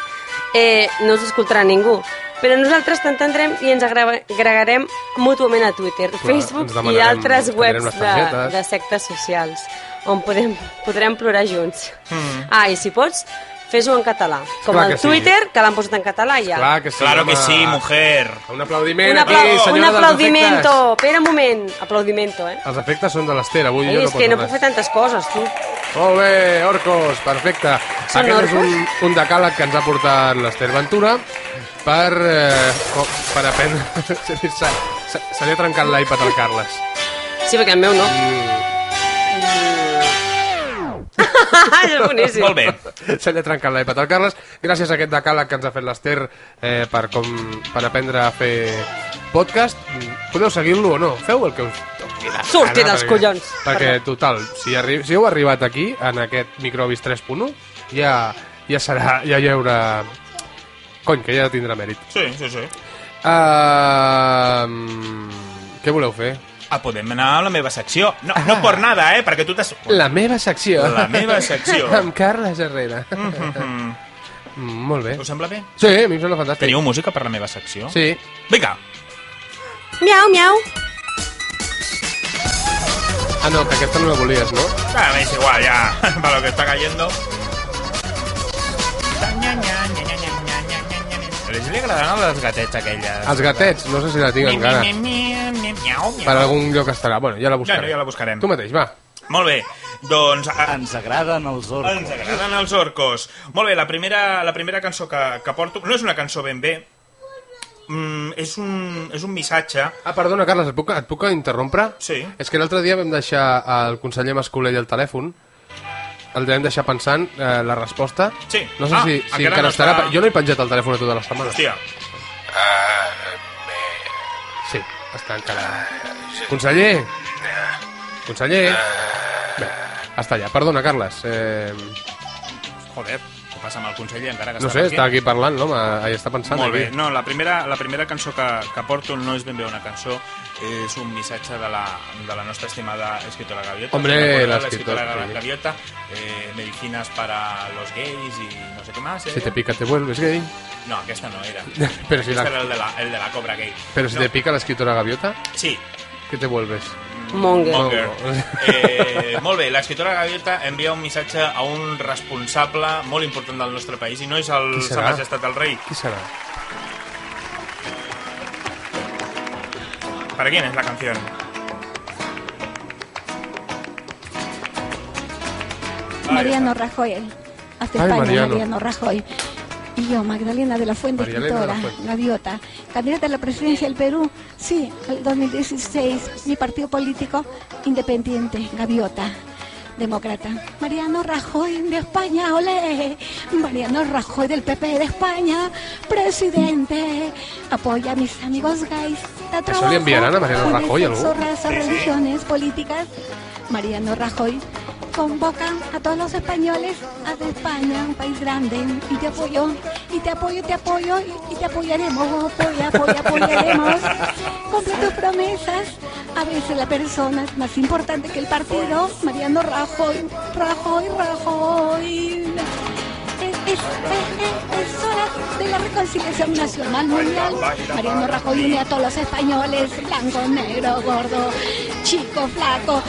Speaker 3: eh, no us escoltarà ningú. Però nosaltres t'entendrem i ens agrava- agregarem mútuament a Twitter, Facebook
Speaker 1: ens
Speaker 3: i
Speaker 1: demanarem-
Speaker 3: altres
Speaker 1: ens
Speaker 3: webs
Speaker 1: demanarem les
Speaker 3: de,
Speaker 1: targetes.
Speaker 3: de sectes socials, on podem, podrem plorar junts. Mm. Ah, i si pots, fes-ho en català. Com
Speaker 1: Clar
Speaker 3: el
Speaker 1: que sí.
Speaker 3: Twitter, que l'han posat en català ja.
Speaker 1: Clar que sí.
Speaker 2: Claro que
Speaker 1: home.
Speaker 2: sí, mujer.
Speaker 1: Un aplaudiment
Speaker 3: Un, apla
Speaker 1: aquí,
Speaker 3: un
Speaker 1: senyora dels efectes.
Speaker 3: aplaudimento. Espera un moment. Aplaudimento, eh?
Speaker 1: Els efectes són de l'Ester, avui
Speaker 3: Ai,
Speaker 1: jo no
Speaker 3: és que no
Speaker 1: res.
Speaker 3: puc fer tantes coses, tu.
Speaker 1: Molt bé, Orcos, perfecte.
Speaker 3: Són
Speaker 1: Aquest és un,
Speaker 3: orcos?
Speaker 1: un decàleg que ens ha portat l'Ester Ventura per, eh, oh, per aprendre... Se, li- se, se, se li ha trencat l'iPad al Carles. Mm.
Speaker 3: Sí, perquè el meu no. Ah, és boníssim.
Speaker 2: Molt bé.
Speaker 1: Se li ha trencat l'iPad al Carles. Gràcies a aquest decàleg que ens ha fet l'Ester eh, per, com, per aprendre a fer podcast. Podeu seguir-lo o no? Feu el que us doni la
Speaker 3: Surti
Speaker 1: gana,
Speaker 3: dels
Speaker 1: perquè-
Speaker 3: collons.
Speaker 1: Perquè, total, si, arri si heu arribat aquí, en aquest Microbis 3.1, ja, ja serà, ja hi haurà... Cony, que ja tindrà mèrit.
Speaker 2: Sí, sí, sí.
Speaker 1: Uh, què voleu fer?
Speaker 2: Ah, podem anar a la meva secció. No, no por nada, eh? Perquè tu t'has...
Speaker 1: La meva secció.
Speaker 2: La meva secció. Mm-hmm.
Speaker 1: Amb Carles Herrera. Mm, molt bé.
Speaker 2: Us sembla bé?
Speaker 1: Sí, a mi em sembla fantàstic.
Speaker 2: Teniu música per la meva secció?
Speaker 1: Sí.
Speaker 2: Vinga,
Speaker 3: Miau, miau.
Speaker 1: Ah, no, que aquesta no la volies, no?
Speaker 2: Ah, me es igual, ya. Para lo que está cayendo. Els li agradaran les gatets aquelles.
Speaker 1: Els gatets, no sé si la tinc encara. Per
Speaker 2: encara.
Speaker 1: algun lloc estarà. Bueno, ja la buscaré.
Speaker 2: Bueno, ja la buscarem.
Speaker 1: Tu mateix, va.
Speaker 2: Molt bé, doncs a-
Speaker 6: Ens agraden els orcs.
Speaker 2: ens agraden els orcos. Molt bé, la primera, la primera cançó que, que porto no és una cançó ben bé, mm, és, un, és un missatge
Speaker 1: Ah, perdona, Carles, et puc, et puc interrompre?
Speaker 2: Sí.
Speaker 1: És que l'altre dia vam deixar el conseller Mascolell al telèfon el vam deixar pensant eh, la resposta.
Speaker 2: Sí.
Speaker 1: No sé
Speaker 2: Ah,
Speaker 1: si, si
Speaker 2: encara
Speaker 1: encara
Speaker 2: no
Speaker 1: estarà...
Speaker 2: està-
Speaker 1: pe- Jo no he penjat el telèfon a tota la setmana.
Speaker 2: Hòstia,
Speaker 1: Sí, està encara... Conseller! Conseller! Bé, està allà. Perdona, Carles. Eh,
Speaker 2: joder, què passa amb el conseller encara que
Speaker 1: no
Speaker 2: està
Speaker 1: sé,
Speaker 2: per aquí?
Speaker 1: està aquí parlant, l'home. Ahí està pensant.
Speaker 2: Molt bé,
Speaker 1: aquí.
Speaker 2: no, la primera, la primera cançó que, que porto no és ben bé una cançó, és un missatge de la, de la nostra estimada escritora Gaviota.
Speaker 1: Hombre,
Speaker 2: Recorda
Speaker 1: la
Speaker 2: escritora
Speaker 1: escritora, sí.
Speaker 2: Gaviota, eh, medicinas para los gays y no sé qué más. Eh?
Speaker 1: Si te pica, te vuelves gay.
Speaker 2: No, aquesta no era.
Speaker 1: Però si
Speaker 2: Este
Speaker 1: la-
Speaker 2: era el de la, el de la cobra gay.
Speaker 1: Pero si
Speaker 2: no,
Speaker 1: te pica la escritora gaviota,
Speaker 2: Sí,
Speaker 1: ¿qué te vuelves?
Speaker 3: Monger.
Speaker 1: Oh.
Speaker 2: Monger.
Speaker 1: No.
Speaker 2: Eh, molt bé, l'escriptora Gaviota envia un missatge a un responsable molt important del nostre país i no és el
Speaker 1: Qui
Speaker 2: Sa
Speaker 1: serà?
Speaker 2: Majestat del Rei.
Speaker 1: ¿Qué será?
Speaker 2: ¿Para quién es la canción?
Speaker 7: Mariano Rajoy. eh, Hasta
Speaker 1: Ay,
Speaker 7: España,
Speaker 1: Mariano.
Speaker 7: Mariano. Rajoy. Y yo, Magdalena de la Fuente,
Speaker 1: Marielena de
Speaker 7: escritora,
Speaker 1: la Fuente.
Speaker 7: gaviota, candidata a la presidencia del Perú, sí, al 2016, mi partido político independiente, gaviota, demócrata. Mariano Rajoy de España, ole, Mariano Rajoy del PP de España, presidente, apoya a mis amigos gays,
Speaker 1: ¿Eso
Speaker 7: da
Speaker 1: le
Speaker 7: trabajo,
Speaker 1: enviarán a Mariano
Speaker 7: une
Speaker 1: Rajoy
Speaker 7: sexo,
Speaker 1: algo?
Speaker 7: razas,
Speaker 2: Sí, sí.
Speaker 7: religiones, políticas, Mariano Rajoy convoca a todos los españoles a de España, un país grande, y te apoyo, y te apoyo, te apoyo, y, y te apoyaremos, apoya, apoya, apoyaremos. Cumple tus promesas. A veces la persona es más importante que el partido, Mariano Rajoy, Rajoy, Rajoy. Es, es- es- es hora de la reconciliación nacional mundial. Mariano Rajoy une a todos los españoles, blanco, negro, gordo, chico, flaco,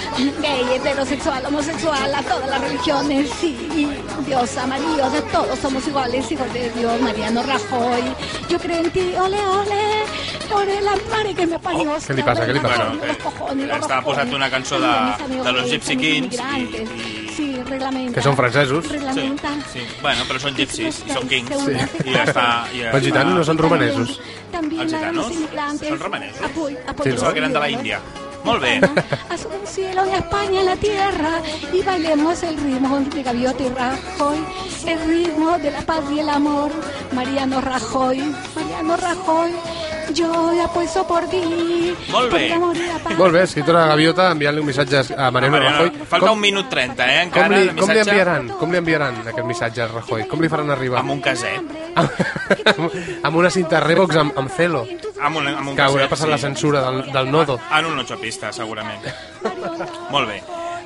Speaker 7: gay, heterosexual, homosexual, a todas las religiones, sí, Dios amarillo, de todos somos iguales, hijos de Dios, Mariano Rajoy. Yo creo en ti, ole, ole, ole la madre que me parió.
Speaker 1: Oh, ¿qué le pasa? ¿Qué le pasa?
Speaker 7: Bueno, los cojones, los
Speaker 2: estava
Speaker 7: cojones.
Speaker 2: posant Eh, una cançó de-
Speaker 7: Ay, mis amigos
Speaker 2: de los
Speaker 7: gays,
Speaker 2: Gypsy
Speaker 7: amigos
Speaker 2: Kings i-
Speaker 7: inmigrantes.
Speaker 2: i-
Speaker 7: Sí, reglamenta.
Speaker 1: Que són francesos.
Speaker 2: Sí,
Speaker 7: Reglamenta.
Speaker 2: sí. Bueno, però són gypsies, i són kings.
Speaker 7: Sí.
Speaker 2: I ja està... I ja
Speaker 1: Els gitanos no
Speaker 2: està.
Speaker 1: són romanesos.
Speaker 7: También
Speaker 2: Els
Speaker 7: a los
Speaker 2: gitanos
Speaker 7: inmigrantes.
Speaker 2: són romanesos.
Speaker 7: Apoy- apoyo
Speaker 2: Pensava que eren de la Índia. Molt bé.
Speaker 7: Haz un cielo en España, en la tierra, y bailemos el ritmo de Gaviota y Rajoy, el ritmo de la paz y el amor. Mariano Rajoy, Mariano Rajoy, Yo la apuesto por ti.
Speaker 2: Molt bé.
Speaker 7: Por el amor y la paz.
Speaker 1: Molt bé, escritora Gaviota, enviant-li un missatge a Mariano
Speaker 2: Mariano,
Speaker 1: Rajoy.
Speaker 2: falta
Speaker 1: Com-
Speaker 2: un minut 30, eh,
Speaker 1: Com
Speaker 2: encara,
Speaker 1: li,
Speaker 2: el
Speaker 1: com li
Speaker 2: missatge.
Speaker 1: enviaran? Com li enviaran aquest missatge a Rajoy? Com li faran arribar?
Speaker 2: Amb un caset.
Speaker 1: Amb, amb una cinta Revox amb, amb celo,
Speaker 2: Amb un, amb un
Speaker 1: que haurà
Speaker 2: caset,
Speaker 1: passat
Speaker 2: sí.
Speaker 1: la censura del, del nodo.
Speaker 2: En un pista, segurament. Molt bé.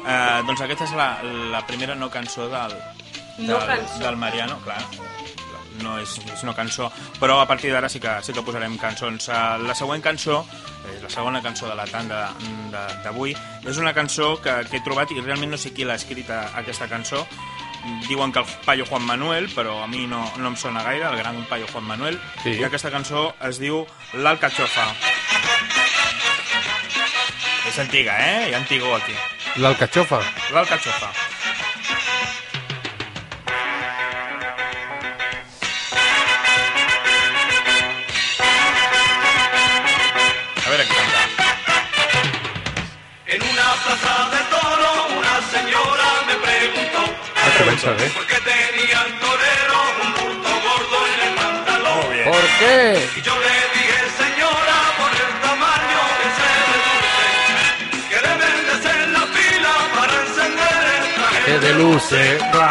Speaker 2: Uh, doncs aquesta és la, la primera no cançó del, del,
Speaker 3: No cançó.
Speaker 2: del Mariano, clar. No és, és una cançó, però a partir d'ara sí, que, sí que posarem cançons. Uh, la següent cançó, és la segona cançó de la tanda de- d'avui, és una cançó que, que he trobat i realment no sé qui l'ha escrita, aquesta cançó. Diuen que el paio Juan Manuel, però a mi no, no em sona gaire, el gran paio Juan Manuel.
Speaker 1: Sí.
Speaker 2: I aquesta cançó es diu L'Alcachofa. És antiga, eh? Hi ha antigó aquí.
Speaker 1: L'alcachofa.
Speaker 2: L'alcachofa. A veure qui canta.
Speaker 6: En una plaza de toro una señora me preguntó
Speaker 1: Ah, comença bé.
Speaker 6: por qué tenía el torero un punto gordo en el pantalón.
Speaker 2: Molt bé.
Speaker 1: ¿Por qué?
Speaker 6: Y yo le dije, señora, por el tamaño que se reduce, que deben de ser la fila para encender el traje.
Speaker 1: Que de luce. Va.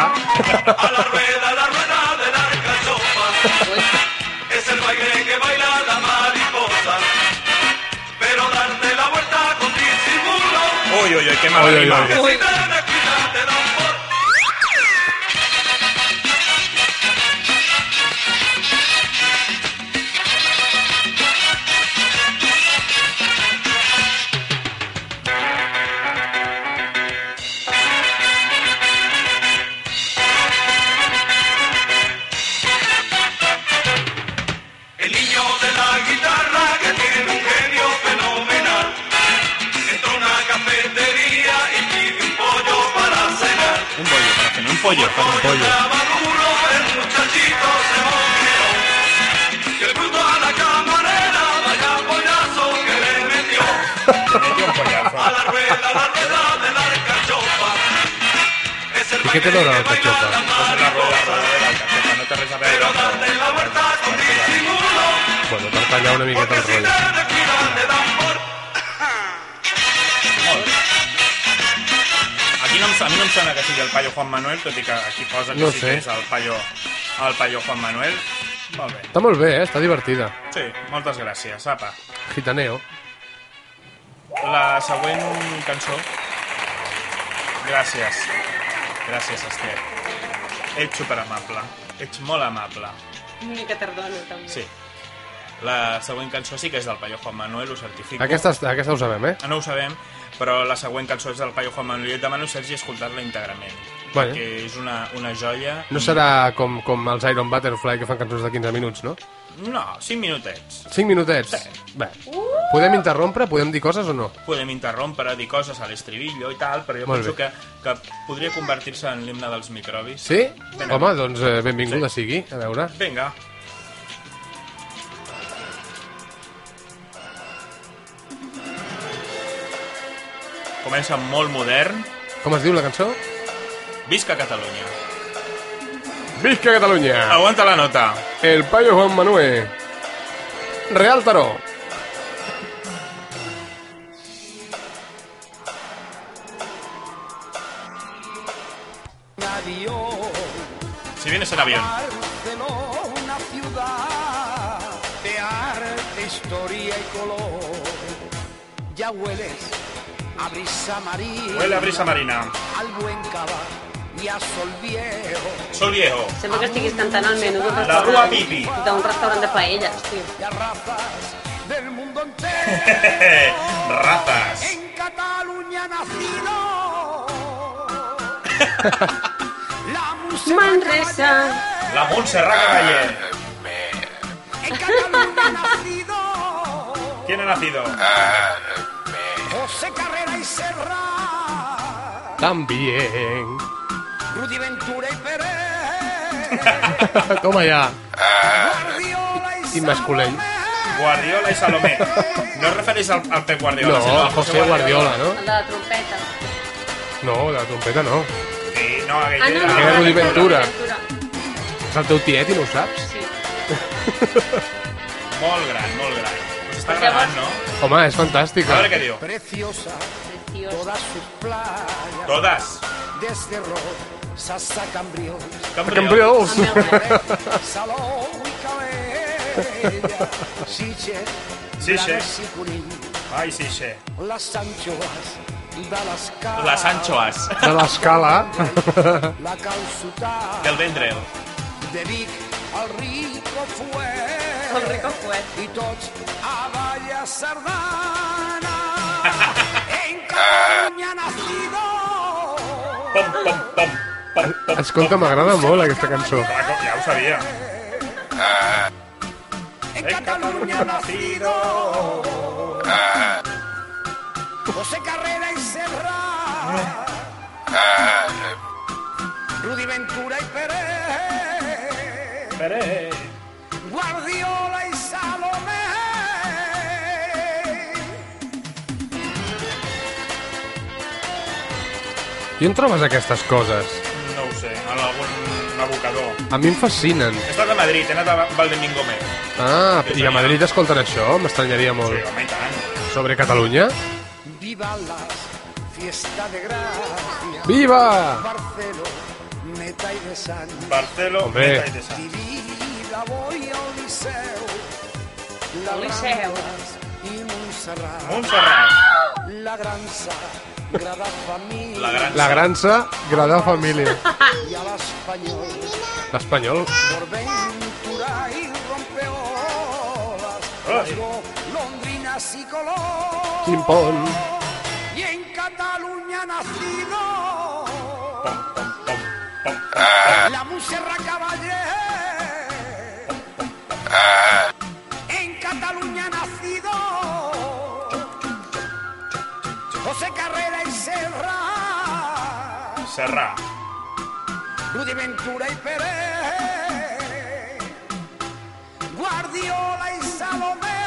Speaker 6: A la rueda, la rueda de la alcachofa. Es el baile que baila la mariposa. Pero darte la vuelta con disimulo.
Speaker 2: Ui, ui, ui, que mal
Speaker 1: Ui, ui,
Speaker 2: rima.
Speaker 1: ui.
Speaker 6: Si te la quitas, te dan por El niño de la guitarra que tiene un genio fenomenal. Entra a una cafetería y pide un pollo para cenar.
Speaker 2: Un pollo, per fer, un pollo, per un
Speaker 6: Pollo
Speaker 2: pollo.
Speaker 6: estaba duro, el muchachito se moqueó. Que el bruto a la camarera, vaya pollazo que le metió. A la rueda, la rueda de la alcachofa. Es el
Speaker 1: ¿Y qué te lo da la
Speaker 6: baile que baila
Speaker 1: alcachofa?
Speaker 6: mariposa.
Speaker 2: No té res a
Speaker 6: Pero
Speaker 2: veure.
Speaker 6: date la vuelta con disimulo,
Speaker 1: Bueno, per tallar una miqueta
Speaker 6: porque
Speaker 1: el
Speaker 6: si te
Speaker 1: rotllo.
Speaker 6: descuidas te dan por...
Speaker 2: Aquí no, em- a mi no em sona que sigui el paio Juan Manuel, tot i que aquí posa que
Speaker 1: No
Speaker 2: sí
Speaker 1: sé.
Speaker 2: que és el paio, el paio Juan Manuel. Molt bé.
Speaker 1: Està molt bé, eh? Està divertida.
Speaker 2: Sí, moltes gràcies. Apa.
Speaker 1: Gitaneo.
Speaker 2: La següent cançó... Gràcies. Gràcies, Esther. Ets superamable. Ets molt amable.
Speaker 3: Mica tardona, també.
Speaker 2: Sí. La següent cançó sí que és del Paio Juan Manuel, ho certifico.
Speaker 1: Aquesta, aquesta ho sabem, eh?
Speaker 2: Ah, No ho sabem, però la següent cançó és del Paio Juan Manuel. Jo et demano, Sergi, escoltar-la íntegrament.
Speaker 1: Vale.
Speaker 2: Perquè és una, una joia...
Speaker 1: No serà com, com els Iron Butterfly, que fan cançons de 15 minuts, no?
Speaker 2: No, 5 minutets.
Speaker 1: 5 minutets. Bé. Podem interrompre? Podem dir coses o no?
Speaker 2: podem interrompre, dir coses a l'estribillo i tal, però jo
Speaker 1: Molt
Speaker 2: penso
Speaker 1: bé.
Speaker 2: que, que podria convertir-se en l'himne dels microbis.
Speaker 1: Sí?
Speaker 2: Vinga.
Speaker 1: Home, doncs eh, benvinguda sigui. A veure.
Speaker 2: Vinga. Comença molt modern.
Speaker 1: Com es diu la cançó?
Speaker 2: Visca Catalunya.
Speaker 1: Visca Catalunya!
Speaker 2: Aguanta la nota.
Speaker 1: El paio Juan Manuel. Real Taró.
Speaker 2: Si vienes en avión.
Speaker 8: Barcelona, ciudad de arte, historia y color. Ya hueles a brisa marina,
Speaker 2: Huele a brisa marina.
Speaker 8: al buen cava y a sol viejo.
Speaker 2: Sol viejo.
Speaker 3: Sembla que estiguis cantant al menú d'un
Speaker 2: La Rua
Speaker 3: restaurant,
Speaker 2: Pipi.
Speaker 3: d'un restaurant de paelles, tio.
Speaker 8: Y a razas del mundo
Speaker 2: Eh,
Speaker 8: entero.
Speaker 2: Ratas.
Speaker 8: En Cataluña nacido. La música
Speaker 3: Manresa.
Speaker 2: La Montserrat Caballé.
Speaker 8: En Cataluña nacido.
Speaker 2: ¿Quién ha nacido?
Speaker 8: José Carrera y Serra,
Speaker 1: También.
Speaker 8: Rudy Ventura y Pérez,
Speaker 1: Toma ya.
Speaker 8: Guardiola y
Speaker 1: I Mascolell.
Speaker 2: Guardiola i Salomé. No es refereix al, al Pep
Speaker 1: No,
Speaker 2: Guardiola, sinó
Speaker 1: a José Guardiola, no?
Speaker 3: El de la trompeta.
Speaker 1: No, la trompeta no.
Speaker 2: Sí, no, aquell
Speaker 3: Ah, no,
Speaker 2: era-
Speaker 3: no,
Speaker 1: Era Rudi
Speaker 3: no,
Speaker 1: Ventura.
Speaker 3: Rudi Ventura.
Speaker 1: És el teu tiet i no ho saps?
Speaker 3: Sí.
Speaker 2: Molt gran, molt gran. Us està
Speaker 3: Pues Llavors-
Speaker 2: agradant, no?
Speaker 1: Home, és fantàstica.
Speaker 2: A veure què diu.
Speaker 8: Preciosa,
Speaker 3: Preciosa.
Speaker 8: todas sus playas,
Speaker 2: Todas.
Speaker 8: desde Rosas a Cambrils,
Speaker 2: Cambrió.
Speaker 1: Cambrils.
Speaker 8: Salou y Cabella, Siche,
Speaker 2: Sitges.
Speaker 8: Blanes y Curín,
Speaker 2: Ai, sí, sí.
Speaker 8: las anchoas de les cares,
Speaker 2: Les anchoas.
Speaker 1: De l'escala.
Speaker 8: la calçotada
Speaker 2: Del ventre.
Speaker 8: de Vic, el rico fuet.
Speaker 3: El rico fue.
Speaker 8: i tots a Valla Sardana. en Catalunya nacido.
Speaker 2: Pom, pom, pom. pom, pom.
Speaker 1: Escolta, m'agrada molt aquesta cançó.
Speaker 2: Ah, com- Ja ho sabia. En
Speaker 8: En
Speaker 2: Catalunya
Speaker 8: Catalunya nacido. José Carrera i Serra. Rudi Ventura i Pérez.
Speaker 2: Pere.
Speaker 8: Guardiola i Salomé.
Speaker 1: I on trobes aquestes coses?
Speaker 2: No ho sé, en algun abocador.
Speaker 1: A mi em fascinen.
Speaker 2: He estat a Madrid, he anat a Valdemín Gómez.
Speaker 1: Ah, i a Madrid escolten això? M'estranyaria
Speaker 2: Sí,
Speaker 1: molt.
Speaker 2: home, i tant.
Speaker 1: Sobre Catalunya?
Speaker 8: Viva las fiesta de gracia.
Speaker 1: Viva!
Speaker 8: Barcelo, meta y de San.
Speaker 2: Barcelo,
Speaker 1: Hombre.
Speaker 2: Meta i Tessà.
Speaker 8: Divina voy a Odiseo. La
Speaker 3: Odiseu.
Speaker 8: Ramblas Y Montserrat.
Speaker 2: Montserrat.
Speaker 8: La gran sagrada familia.
Speaker 2: La gran...
Speaker 1: La grança, gradar família.
Speaker 8: Y al español.
Speaker 1: L'espanyol.
Speaker 8: Por ventura y rompeolas.
Speaker 2: Ay.
Speaker 8: Las londrinas y color.
Speaker 1: Quin pont.
Speaker 8: Y en Cataluña nacido.
Speaker 2: Pom, pom, pom, pom.
Speaker 8: La Montserrat Caballé. En Cataluña nacido. José Carrera y Serra.
Speaker 2: Serra.
Speaker 8: Rudi Ventura y Pérez. Guardiola y
Speaker 2: Tu
Speaker 8: Salomé.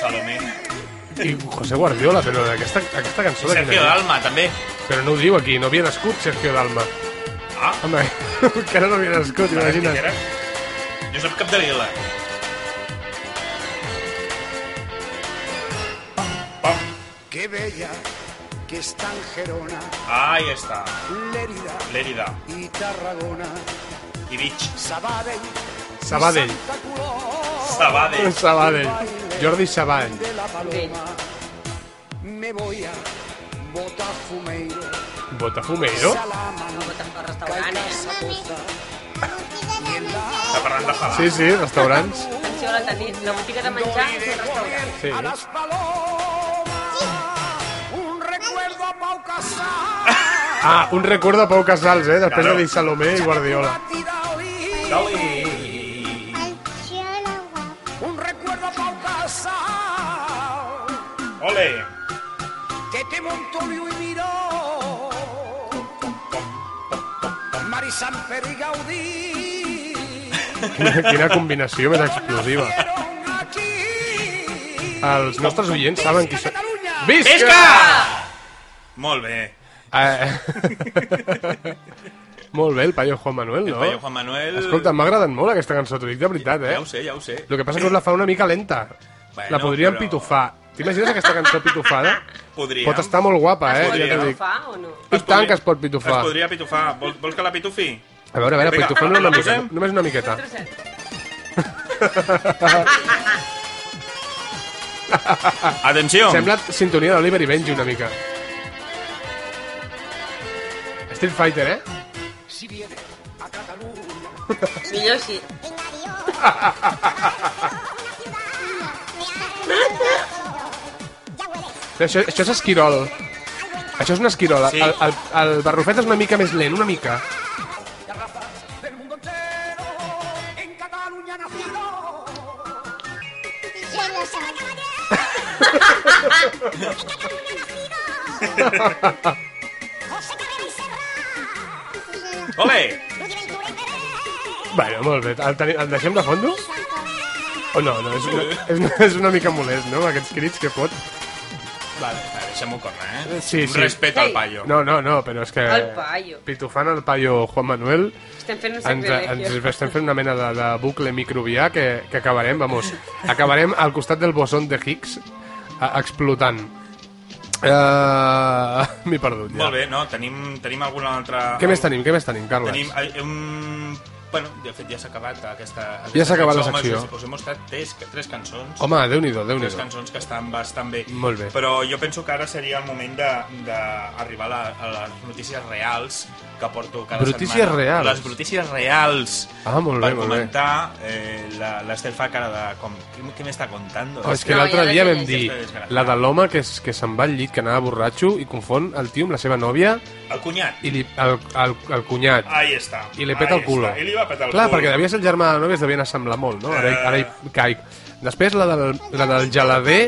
Speaker 2: Salomé.
Speaker 1: I José Guardiola, però aquesta, aquesta cançó... de quina
Speaker 2: Sergio
Speaker 1: és?
Speaker 2: Dalma, també.
Speaker 1: Però no ho diu aquí, no havia nascut Sergio Dalma.
Speaker 2: Ah.
Speaker 1: Home, encara no havia nascut, imagina't.
Speaker 2: Era? Josep Capdevila. Pam.
Speaker 8: Qué bella que están Gerona,
Speaker 2: Ahí està.
Speaker 8: Lérida
Speaker 2: L'Èrida.
Speaker 8: y Tarragona.
Speaker 2: I Vich.
Speaker 8: Sabadell. y
Speaker 1: Sabadell.
Speaker 8: Santa Coloma.
Speaker 2: Sabadell.
Speaker 1: Sabadell. Jordi Sabadell.
Speaker 8: de la
Speaker 3: Bien.
Speaker 8: paloma me voy a Botafumeiro,
Speaker 1: Botafumeiro?
Speaker 8: Salamano,
Speaker 3: Voten pel restaurant,
Speaker 8: Caica,
Speaker 3: eh?
Speaker 8: Zaposta,
Speaker 2: Està parlant de fada.
Speaker 1: Ah. Sí, sí, restaurants.
Speaker 3: Atenció a la tenir. La botiga de menjar és un restaurant.
Speaker 1: Sí.
Speaker 8: a las palomas, un recuerdo a Pau Casal,
Speaker 1: Ah, un record de Pau Casals, eh? Després de
Speaker 2: Claro.
Speaker 1: dir Salomé i Guardiola.
Speaker 8: Batidali,
Speaker 2: Dali.
Speaker 8: un recuerdo a Pau Casal,
Speaker 2: Ole.
Speaker 8: que te montó y miró, Marisan Peri Gaudí.
Speaker 1: Quina, quina combinació més explosiva. Els nostres oients saben qui són. Visca! Ah,
Speaker 2: Molt bé.
Speaker 1: Eh, Molt bé, el paio Juan Manuel,
Speaker 2: El
Speaker 1: no?
Speaker 2: paio Juan Manuel...
Speaker 1: Escolta, m'ha agradat molt aquesta cançó, t'ho dic de veritat, eh?
Speaker 2: Ja ho sé, ja ho sé.
Speaker 1: El que passa que us la fa una mica lenta.
Speaker 2: Bueno,
Speaker 1: la podríem
Speaker 2: però-
Speaker 1: pitufar. T'imagines aquesta cançó pitufada?
Speaker 2: Podríem.
Speaker 1: Pot estar molt guapa, eh?
Speaker 3: Es
Speaker 1: Ja
Speaker 3: podria
Speaker 1: t'ho dic.
Speaker 3: agafar o no?
Speaker 1: I tant que es pot pitufar.
Speaker 2: Es podria pitufar. Vols, vols que la pitufi?
Speaker 1: A veure, a veure,
Speaker 2: Vinga,
Speaker 1: pitufem-la una
Speaker 2: la
Speaker 1: mica.
Speaker 2: posem?
Speaker 1: Només una miqueta.
Speaker 2: Atenció.
Speaker 1: Sembla sintonia d'Oliver i Benji una mica. Street Fighter, eh?
Speaker 3: Millor així.
Speaker 1: Però això, això és esquirol. Això és un esquirol.
Speaker 2: Sí.
Speaker 1: El, el, el barrufet és una mica més lent, una mica.
Speaker 8: del mundo entero, en Cataluña nacido.
Speaker 2: Ole.
Speaker 1: Bueno, molt bé. El, teni- el deixem de fondo? O no, no, és una, és una, és una mica molest, no? Aquests crits que fot. Vale.
Speaker 2: Va, Deixa'm-ho córrer, eh?
Speaker 1: Sí, sí.
Speaker 2: Respecte al
Speaker 3: Ei.
Speaker 2: paio.
Speaker 1: No, no, no, però és que...
Speaker 3: El paio.
Speaker 1: Pitufant el paio Juan Manuel...
Speaker 3: Estem fent un
Speaker 1: Ens, ens
Speaker 3: sacrilegio.
Speaker 1: estem fent una mena de, de bucle microbià que, que acabarem, vamos, acabarem al costat del boson de Higgs a, explotant. Uh, M'he perdut ja.
Speaker 2: Molt bé, no? Tenim, tenim alguna altra...
Speaker 1: Què més tenim? Què més tenim, Carles?
Speaker 2: Tenim eh, un... Bueno, de fet ja s'ha acabat aquesta...
Speaker 1: Ja s'ha acabat la
Speaker 2: Home,
Speaker 1: secció.
Speaker 2: Us, us he mostrat tres, tres cançons.
Speaker 1: Home, déu-n'hi-do, déu nhi
Speaker 2: Tres cançons que estan bastant bé.
Speaker 1: Molt bé.
Speaker 2: Però jo penso que ara seria el moment d'arribar a, la, a les notícies reals que porto cada
Speaker 1: Brutícies
Speaker 2: setmana.
Speaker 1: reals.
Speaker 2: Les brutícies reals.
Speaker 1: Ah, molt
Speaker 2: per
Speaker 1: bé, molt bé.
Speaker 2: comentar, eh, la- l'Ester fa cara de... Com, què, què m'està contant?
Speaker 1: Oh, és que
Speaker 3: No,
Speaker 1: l'altre
Speaker 3: ja la
Speaker 1: dia
Speaker 3: sé,
Speaker 1: vam
Speaker 3: ja sé,
Speaker 1: dir
Speaker 2: ja sé.
Speaker 1: la de l'home que, es- que se'n va al llit, que anava borratxo i confon el tio amb la seva nòvia
Speaker 2: El cunyat.
Speaker 1: i li, el, el, el cunyat.
Speaker 2: Ahí està.
Speaker 1: I li peta
Speaker 2: Ahí
Speaker 1: el culo.
Speaker 2: Està. I li va petar el
Speaker 1: Clar,
Speaker 2: culo.
Speaker 1: perquè devia ser el germà de la nòvia, es devien assemblar molt, no? Ara,
Speaker 2: Eh.
Speaker 1: hi- ara hi caic. Després la del, la del gelader,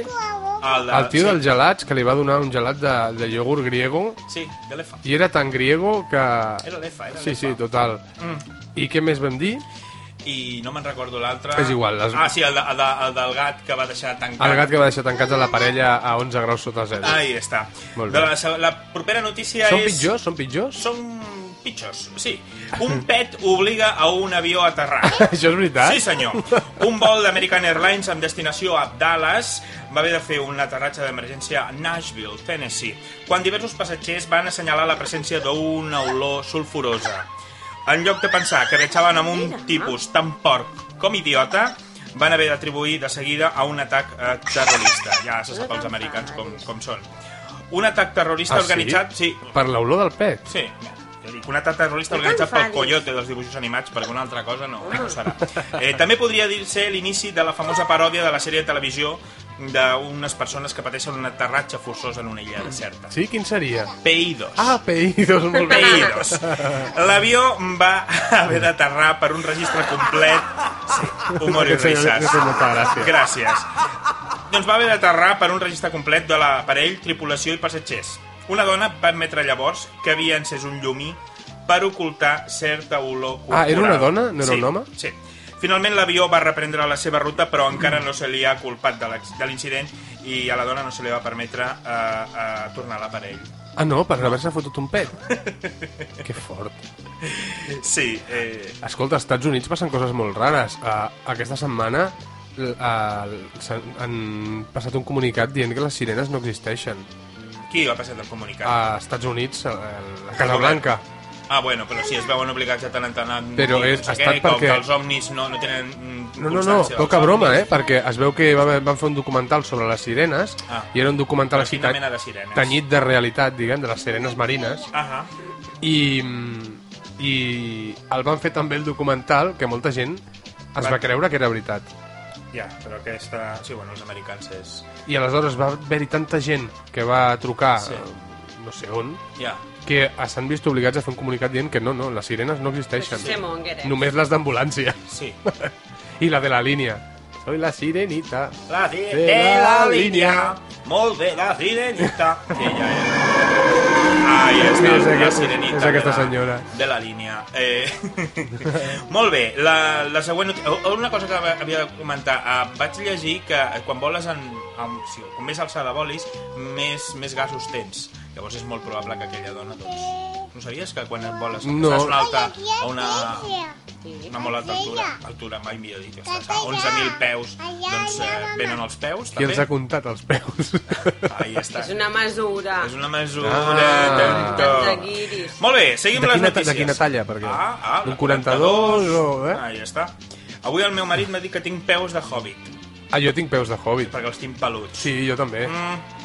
Speaker 2: El, de-
Speaker 1: el tio
Speaker 2: sí,
Speaker 1: dels gelats, que li va donar un gelat de, de iogurt griego,
Speaker 2: Sí, de l'EFA.
Speaker 1: i era tan griego que...
Speaker 2: Era l'EFA, era Mm.
Speaker 1: Sí, sí,
Speaker 2: l'EFA.
Speaker 1: total. I què més vam dir?
Speaker 2: i no me'n recordo l'altre.
Speaker 1: És igual, les-
Speaker 2: Ah, sí, el, de, el, de, el del gat que va deixar tancat.
Speaker 1: El gat que va deixar tancats a la parella a 11 graus sota zero.
Speaker 2: Ahí està.
Speaker 1: Molt
Speaker 2: De
Speaker 1: bé.
Speaker 2: la, se- la propera notícia
Speaker 1: Són
Speaker 2: és...
Speaker 1: pitjors? Són pitjors?
Speaker 2: Són pitjors, sí. Un pet obliga a un avió a aterrar.
Speaker 1: Això és veritat?
Speaker 2: Sí, senyor. Un vol d'American Airlines amb destinació a Dallas va haver de fer un aterratge d'emergència a Nashville, Tennessee, quan diversos passatgers van assenyalar la presència d'una olor sulfurosa. En lloc de pensar que viatjaven amb un tipus tan porc com idiota, van haver d'atribuir de seguida a un atac eh, terrorista. Ja se sap els americans com, com són. Un atac terrorista
Speaker 1: Ah, sí?
Speaker 2: organitzat... Sí,
Speaker 1: Per l'olor del pet.
Speaker 2: Sí, jo dic, un atac terrorista
Speaker 3: No
Speaker 2: organitzat pel
Speaker 3: t'enfadis.
Speaker 2: Coyote dels dibuixos animats, perquè una altra cosa no, no serà.
Speaker 3: Oh.
Speaker 2: Eh, també podria dir-se l'inici de la famosa paròdia de la sèrie de televisió d'unes persones que pateixen un aterratge forçós en una illa deserta.
Speaker 1: Sí? Quin seria?
Speaker 2: Peidos.
Speaker 1: Ah, peïdos, molt bé.
Speaker 2: Peidos. L'avió va haver d'aterrar per un registre complet. Sí, humor i
Speaker 1: Aquest senyor-
Speaker 2: risses.
Speaker 1: aquest senyor fa gràcia.
Speaker 2: Gràcies. Doncs va haver d'aterrar per un registre complet de l'aparell, tripulació i passatgers. Una dona va admetre llavors que havia encès un llumí per ocultar certa olor corporal.
Speaker 1: Ah, era una dona? No era
Speaker 2: sí,
Speaker 1: un home?
Speaker 2: Sí. Finalment l'avió va reprendre la seva ruta, però encara no se li ha culpat de l'ex- de l'incident i a la dona no se li va permetre eh, eh, tornar a l'aparell.
Speaker 1: Ah, no, per haver-se fotut un pet. que fort.
Speaker 2: Sí, eh,
Speaker 1: Escolta, als Estats Units passen coses molt rares. Uh, aquesta setmana l- uh, s'han- han passat un comunicat dient que les sirenes no existeixen.
Speaker 2: qui va passar el comunicat?
Speaker 1: A Estats Units, a a
Speaker 2: eh?
Speaker 1: Casa Blanca.
Speaker 2: Ah, bueno, però sí, es veuen obligats a tant en tant a...
Speaker 1: Però
Speaker 2: dir,
Speaker 1: és-
Speaker 2: no sé
Speaker 1: ha
Speaker 2: què,
Speaker 1: estat perquè-
Speaker 2: com que els omnis no, no tenen mm,
Speaker 1: No, no, no,
Speaker 2: constància dels
Speaker 1: poca
Speaker 2: ovnis.
Speaker 1: broma, eh? Perquè es veu que va haver- van fer un documental sobre les sirenes
Speaker 2: Ah.
Speaker 1: i era un documental
Speaker 2: Però
Speaker 1: així
Speaker 2: quina
Speaker 1: ta-
Speaker 2: mena de sirenes?
Speaker 1: tenyit de realitat, diguem, de les sirenes marines.
Speaker 2: Ahà.
Speaker 1: I, mm, i el van fer també el documental que molta gent es va
Speaker 2: Va-
Speaker 1: creure que era veritat.
Speaker 2: Ja, però aquesta... Sí, bueno, els americans és...
Speaker 1: I aleshores va haver-hi tanta gent que va trucar eh,
Speaker 2: Sí.
Speaker 1: no sé on,
Speaker 2: Ja.
Speaker 1: que s'han vist obligats a fer un comunicat dient que no, no, les sirenes no existeixen.
Speaker 3: Sí, monger, eh?
Speaker 1: Només les d'ambulància.
Speaker 2: Sí.
Speaker 1: I la de la línia. Soy la sirenita.
Speaker 2: La de,
Speaker 1: De
Speaker 2: de
Speaker 1: la
Speaker 2: la
Speaker 1: línia.
Speaker 2: línia. Molt bé, la sirenita. Sí, ja era. Ah, ja està,
Speaker 1: És
Speaker 2: la
Speaker 1: aquest-
Speaker 2: sirenita.
Speaker 1: és aquesta
Speaker 2: de la-
Speaker 1: senyora.
Speaker 2: De la línia. Eh, molt bé, la, la següent... noti- oh, Una cosa que havia de comentar. Ah, vaig llegir que quan voles en... en si, com més alçada volis, més, més gasos tens. Llavors és molt probable que aquella dona, doncs... No sabies que quan voles
Speaker 1: No.
Speaker 2: estàs a una alta, a una, una molt alta altura, altura mai millor dit, estàs a 11.000 peus, doncs eh, venen els peus,
Speaker 1: Qui
Speaker 2: també.
Speaker 1: els ha comptat els peus?
Speaker 2: Ahí està.
Speaker 3: És una mesura.
Speaker 2: És una mesura...
Speaker 1: Ah.
Speaker 2: tanto.
Speaker 3: Tanta guiris.
Speaker 2: Molt bé, seguim
Speaker 1: De
Speaker 2: les
Speaker 1: quina ta-
Speaker 2: notícies.
Speaker 1: de quina talla, perquè?
Speaker 2: Ah, ah,
Speaker 1: D'un
Speaker 2: la
Speaker 1: 42 o, eh?
Speaker 2: Ah, ja està. Avui el meu marit m'ha dit que tinc peus de hobbit,
Speaker 1: ah, jo tinc peus de hobbit.
Speaker 2: perquè els tinc peluts.
Speaker 1: Sí, jo també.
Speaker 2: Mm.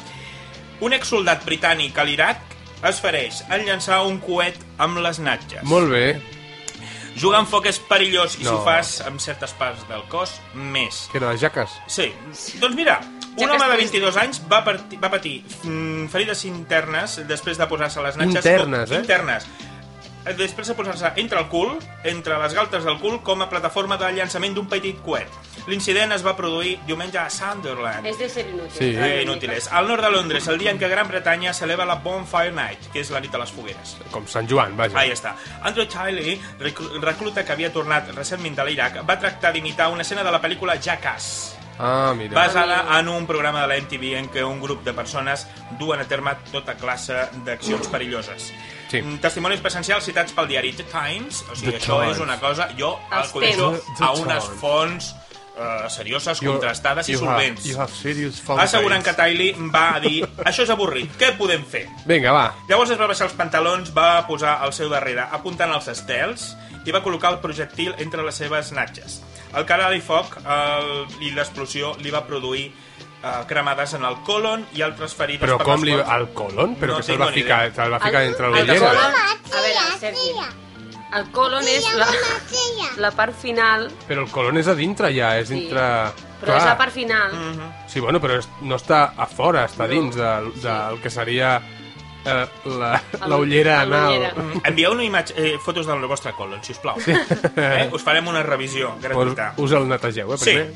Speaker 2: Un exsoldat britànic a l'Iraq es fereix en llançar un coet amb les natges.
Speaker 1: Molt bé.
Speaker 2: Jugar amb foc és perillós i si
Speaker 1: No.
Speaker 2: ho fas amb certes parts del cos, més.
Speaker 1: Que era de jaques.
Speaker 2: Sí, doncs mira,
Speaker 3: Ja
Speaker 2: un
Speaker 3: que
Speaker 2: home de
Speaker 3: estàs-
Speaker 2: 22 anys va, partir, va patir mm, ferides internes després de posar-se les natxes...
Speaker 1: Internes, eh?
Speaker 2: Internes. Eh, Després de posar-se entre el cul, entre les galtes del cul, com a plataforma de llançament d'un petit coet. L'incident es va produir diumenge a Sunderland.
Speaker 3: És de ser inútil.
Speaker 1: Sí.
Speaker 2: Eh, inútiles. Al nord de Londres, el dia en què Gran Bretanya celebra la Bonfire Night, que és la nit de les fogueres.
Speaker 1: Com Sant Joan, vaja.
Speaker 2: Ahí està. Andrew Tiley, reclu- recluta que havia tornat recentment de l'Iraq, va tractar d'imitar una escena de la pel·lícula Jackass.
Speaker 1: Ah, mira.
Speaker 2: basada en un programa de la MTV en què un grup de persones duen a terme tota classe d'accions perilloses.
Speaker 1: Sí.
Speaker 2: Mm, Testimonis presencials citats pel diari The Times, o sigui,
Speaker 1: The
Speaker 2: això
Speaker 1: Times.
Speaker 2: és una cosa... Jo el
Speaker 3: Els
Speaker 2: coneixo
Speaker 1: temps. The- The
Speaker 2: a unes
Speaker 1: Times.
Speaker 2: fonts eh, serioses,
Speaker 1: You-
Speaker 2: contrastades i
Speaker 1: you have-
Speaker 2: solvents.
Speaker 1: you have serious fountains.
Speaker 2: Assegurant que Tiley va dir això és avorrit, què podem fer?
Speaker 1: Vinga, va.
Speaker 2: Llavors es va baixar els pantalons, va posar el seu darrere, apuntant als estels, i va col·locar el projectil entre les seves natges. El canal i foc eh, i l'explosió li va produir eh, cremades en el colon i altres ferides...
Speaker 1: Però
Speaker 2: per
Speaker 1: com
Speaker 2: les
Speaker 1: li...
Speaker 2: quals-
Speaker 1: Al colon? Però
Speaker 2: No
Speaker 1: que se'l
Speaker 2: tinc
Speaker 1: va
Speaker 2: ni
Speaker 1: ficar,
Speaker 2: idea.
Speaker 1: se'l va ficar entre
Speaker 3: El
Speaker 1: l'ullera.
Speaker 3: colon- A veure, Sergi. El colon és la, la part final,
Speaker 1: Però el colon és a dintre ja, és dintre...
Speaker 3: però és la part final.
Speaker 1: Sí, bueno, però és- no està a fora, està dins del de, del que seria eh, la, la ullera
Speaker 3: la
Speaker 1: anal.
Speaker 3: ullera.
Speaker 2: Envieu una imatge, eh, fotos del vostre colon, si us plau. Sí. Eh? Us farem una revisió
Speaker 1: Us,
Speaker 2: gratuïta.
Speaker 1: us el netegeu, eh,
Speaker 2: Sí.
Speaker 1: primer.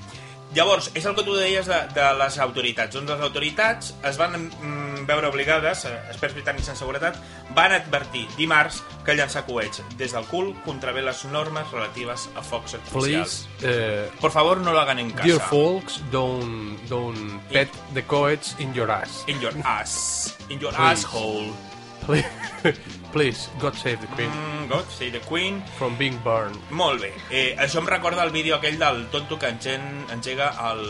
Speaker 2: Llavors, és el que tu deies de, de les autoritats. Doncs les autoritats es van mm, veure obligades, eh, experts britànics en seguretat, van advertir dimarts que llançar coets des del cul contravé les normes relatives a focs artificials.
Speaker 1: Please, eh,
Speaker 2: Por favor, no lo hagan en
Speaker 1: dear
Speaker 2: casa.
Speaker 1: folks, don't, don't pet the coets in your ass.
Speaker 2: In your ass. In your
Speaker 1: Please.
Speaker 2: asshole.
Speaker 1: Please, please God save the queen
Speaker 2: Mm, God save the queen.
Speaker 1: from being burned.
Speaker 2: Molt bé. Eh, això em recorda el vídeo aquell del tonto que engen- engega el,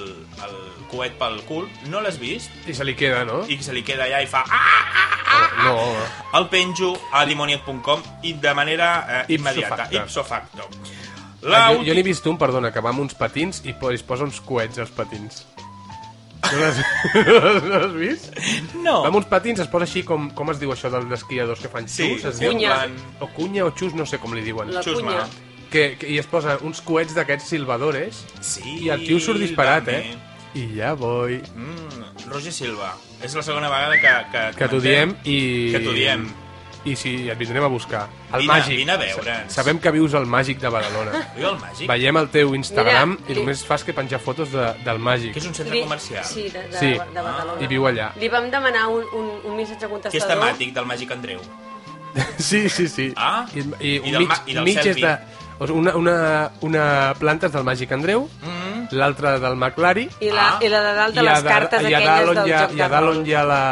Speaker 2: el coet pel cul. No l'has vist?
Speaker 1: I se li queda, no?
Speaker 2: I se li queda allà i fa... Ah!
Speaker 1: No,
Speaker 3: ah.
Speaker 2: el penjo a dimoniac.com i de manera eh,
Speaker 1: Ipso
Speaker 2: immediata,
Speaker 1: facto.
Speaker 2: ipso facto.
Speaker 1: Ah,
Speaker 2: La
Speaker 1: jo, jo n'he vist un, perdona, que va amb uns patins i po- es posa uns coets als patins. No l'has no l'has vist?
Speaker 2: No.
Speaker 1: Va amb uns patins, es posa així com, com es diu això dels esquiadors que fan
Speaker 2: Sí,
Speaker 1: xus? es diu?
Speaker 2: cunya.
Speaker 1: O cunya o xus, no sé com li diuen.
Speaker 3: La
Speaker 2: Xusma.
Speaker 3: cunya.
Speaker 1: Que, que, I es posa uns coets d'aquests silbadores
Speaker 2: Sí,
Speaker 1: i el tio surt disparat,
Speaker 2: també.
Speaker 1: eh? I ja voy.
Speaker 2: Mm, Roger Silva. És la segona vegada que... Que,
Speaker 1: Que t'ho diem
Speaker 2: comentem.
Speaker 1: i...
Speaker 2: Que t'ho diem.
Speaker 1: I sí, et vindrem a buscar. El
Speaker 2: Vine-
Speaker 1: màgic.
Speaker 2: vine a veure'ns.
Speaker 1: Sa- Sabem que vius al màgic de Badalona.
Speaker 2: Viu el màgic,
Speaker 1: Veiem el teu Instagram
Speaker 3: Mira,
Speaker 1: i
Speaker 3: li-
Speaker 1: només fas que penjar fotos de, del màgic.
Speaker 2: que és un centre
Speaker 3: Li-
Speaker 2: comercial.
Speaker 3: Sí, de, de,
Speaker 1: Sí. Ah,
Speaker 3: de Barcelona.
Speaker 1: I viu allà.
Speaker 3: Li vam demanar un, un, un missatge
Speaker 2: Que és
Speaker 3: contestador.
Speaker 2: temàtic del màgic Andreu.
Speaker 1: Sí, sí, sí.
Speaker 2: Ah,
Speaker 1: I, i,
Speaker 2: i
Speaker 1: un
Speaker 2: del
Speaker 1: mig,
Speaker 2: ma- i del
Speaker 1: mig és
Speaker 2: selfie.
Speaker 1: de... O sigui, una, una, una planta és del màgic Andreu,
Speaker 2: Mm,
Speaker 1: l'altra del McLary,
Speaker 3: I la,
Speaker 2: Ah.
Speaker 3: I la de dalt de
Speaker 1: i
Speaker 3: les
Speaker 1: a dalt-
Speaker 3: cartes
Speaker 1: i a
Speaker 3: aquelles
Speaker 1: dalt on
Speaker 3: del
Speaker 1: hi ha,
Speaker 3: joc
Speaker 1: i a
Speaker 3: de
Speaker 1: dalt
Speaker 3: rol.
Speaker 1: on hi ha la...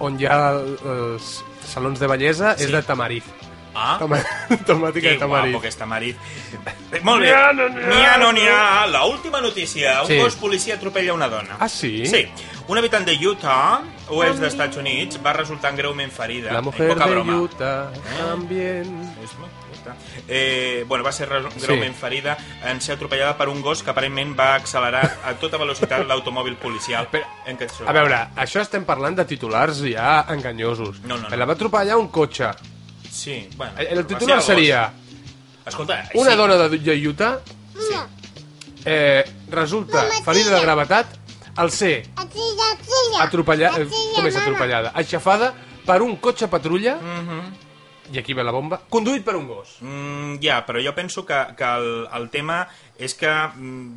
Speaker 1: on hi ha el- els salons de bellesa és de tamariz.
Speaker 2: ah,
Speaker 1: Toma, tomàtica
Speaker 2: que
Speaker 1: de tamariz.
Speaker 2: guapo que està marit. Molt bé. N'hi ha, no n'hi ha. La última notícia. Un
Speaker 1: Sí.
Speaker 2: gos policia atropella una dona.
Speaker 1: Ah, sí?
Speaker 2: Sí. Un habitant de Utah, oest dels Estats Units, va resultar greument ferida.
Speaker 1: La
Speaker 2: En
Speaker 1: mujer
Speaker 2: poca
Speaker 1: de
Speaker 2: broma. Eh?
Speaker 1: Utah también...
Speaker 2: És molt curta. Eh, bueno, va ser re- greument
Speaker 1: Sí.
Speaker 2: ferida en ser atropellada per un gos que aparentment va accelerar a tota velocitat l'automòbil policial
Speaker 1: Però,
Speaker 2: en què es
Speaker 1: A
Speaker 2: trobava.
Speaker 1: veure, això estem parlant de titulars ja enganyosos.
Speaker 2: No, no, no.
Speaker 1: La va atropellar un cotxe.
Speaker 2: Sí, bueno,
Speaker 1: El, el
Speaker 2: va
Speaker 1: titular
Speaker 2: ser el gos.
Speaker 1: seria
Speaker 2: Escolta,
Speaker 1: Una
Speaker 2: sí,
Speaker 1: dona de, de Utah
Speaker 2: Sí.
Speaker 1: eh, resulta ferida de gravetat al ser atropellada... Com és atropellada? Aixafada per un cotxe patrulla i aquí ve la bomba, conduït per un gos.
Speaker 2: Mm, ja, però jo penso que, que el, el tema és que... mm,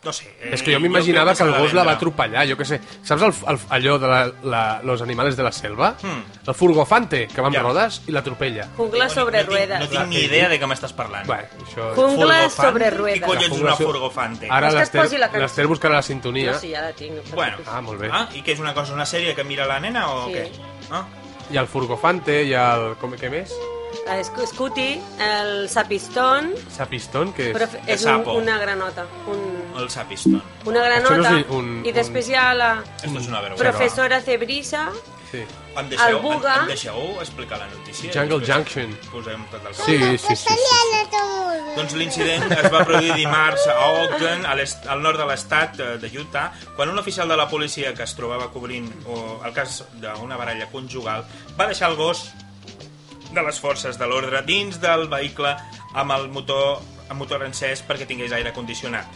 Speaker 2: No sé... eh,
Speaker 1: És que jo
Speaker 2: crec
Speaker 1: m'imaginava que
Speaker 2: s'ha
Speaker 1: el
Speaker 2: de
Speaker 1: gos la va
Speaker 2: vendre.
Speaker 1: atropellar, jo que sé. Saps el, el, allò de la, la, los animales de la selva?
Speaker 2: Mm.
Speaker 1: El furgofante, que va amb
Speaker 2: Ja.
Speaker 1: rodes i l'atropella.
Speaker 2: Bueno,
Speaker 3: Jungla sobre
Speaker 2: no tinc-
Speaker 3: ruedas.
Speaker 2: No tinc ni idea de què m'estàs parlant.
Speaker 1: Bé, això...
Speaker 3: Jungla
Speaker 2: Furgofante?
Speaker 3: sobre
Speaker 2: Qui
Speaker 3: ruedas.
Speaker 2: coño és
Speaker 1: La
Speaker 2: una
Speaker 1: furgofa-
Speaker 2: furgofante?
Speaker 1: Ara
Speaker 3: És que es
Speaker 1: l'Ester
Speaker 3: posi la cançó.
Speaker 1: l'Ester buscarà la sintonia
Speaker 3: Jo sí, ja la tinc. no et
Speaker 2: Bueno.
Speaker 3: preocupis.
Speaker 1: Ah, molt bé.
Speaker 2: Ah, i que és una cosa, una sèrie que mira la nena o
Speaker 3: Sí.
Speaker 2: què? Ah,
Speaker 1: i el Furgofante i el... Com, què més?
Speaker 3: Eh, Sc- Scooty, el sapistón,
Speaker 1: Sapistón, que és...
Speaker 3: però f- és un,
Speaker 2: sapo.
Speaker 3: una granota. Un,
Speaker 2: el Sapiston.
Speaker 3: una
Speaker 1: Això no
Speaker 3: granota.
Speaker 1: és un-
Speaker 3: I després hi ha la
Speaker 2: Esto és una vergonya.
Speaker 3: professora Cebrisa,
Speaker 1: Sí.
Speaker 2: Em deixeu,
Speaker 3: El Buga.
Speaker 2: em, em deixeu explicar la notícia?
Speaker 1: Jungle
Speaker 2: Després
Speaker 1: Junction.
Speaker 2: Posem tot el
Speaker 1: Sí, sí, sí, sí, sí.
Speaker 2: Doncs l'incident es va produir dimarts a Ogden, a l'est- al nord de l'estat eh, de Utah, quan un oficial de la policia que es trobava cobrint o, el cas d'una baralla conjugal va deixar el gos de les forces de l'ordre dins del vehicle amb el motor, amb motor encès perquè tingués aire condicionat.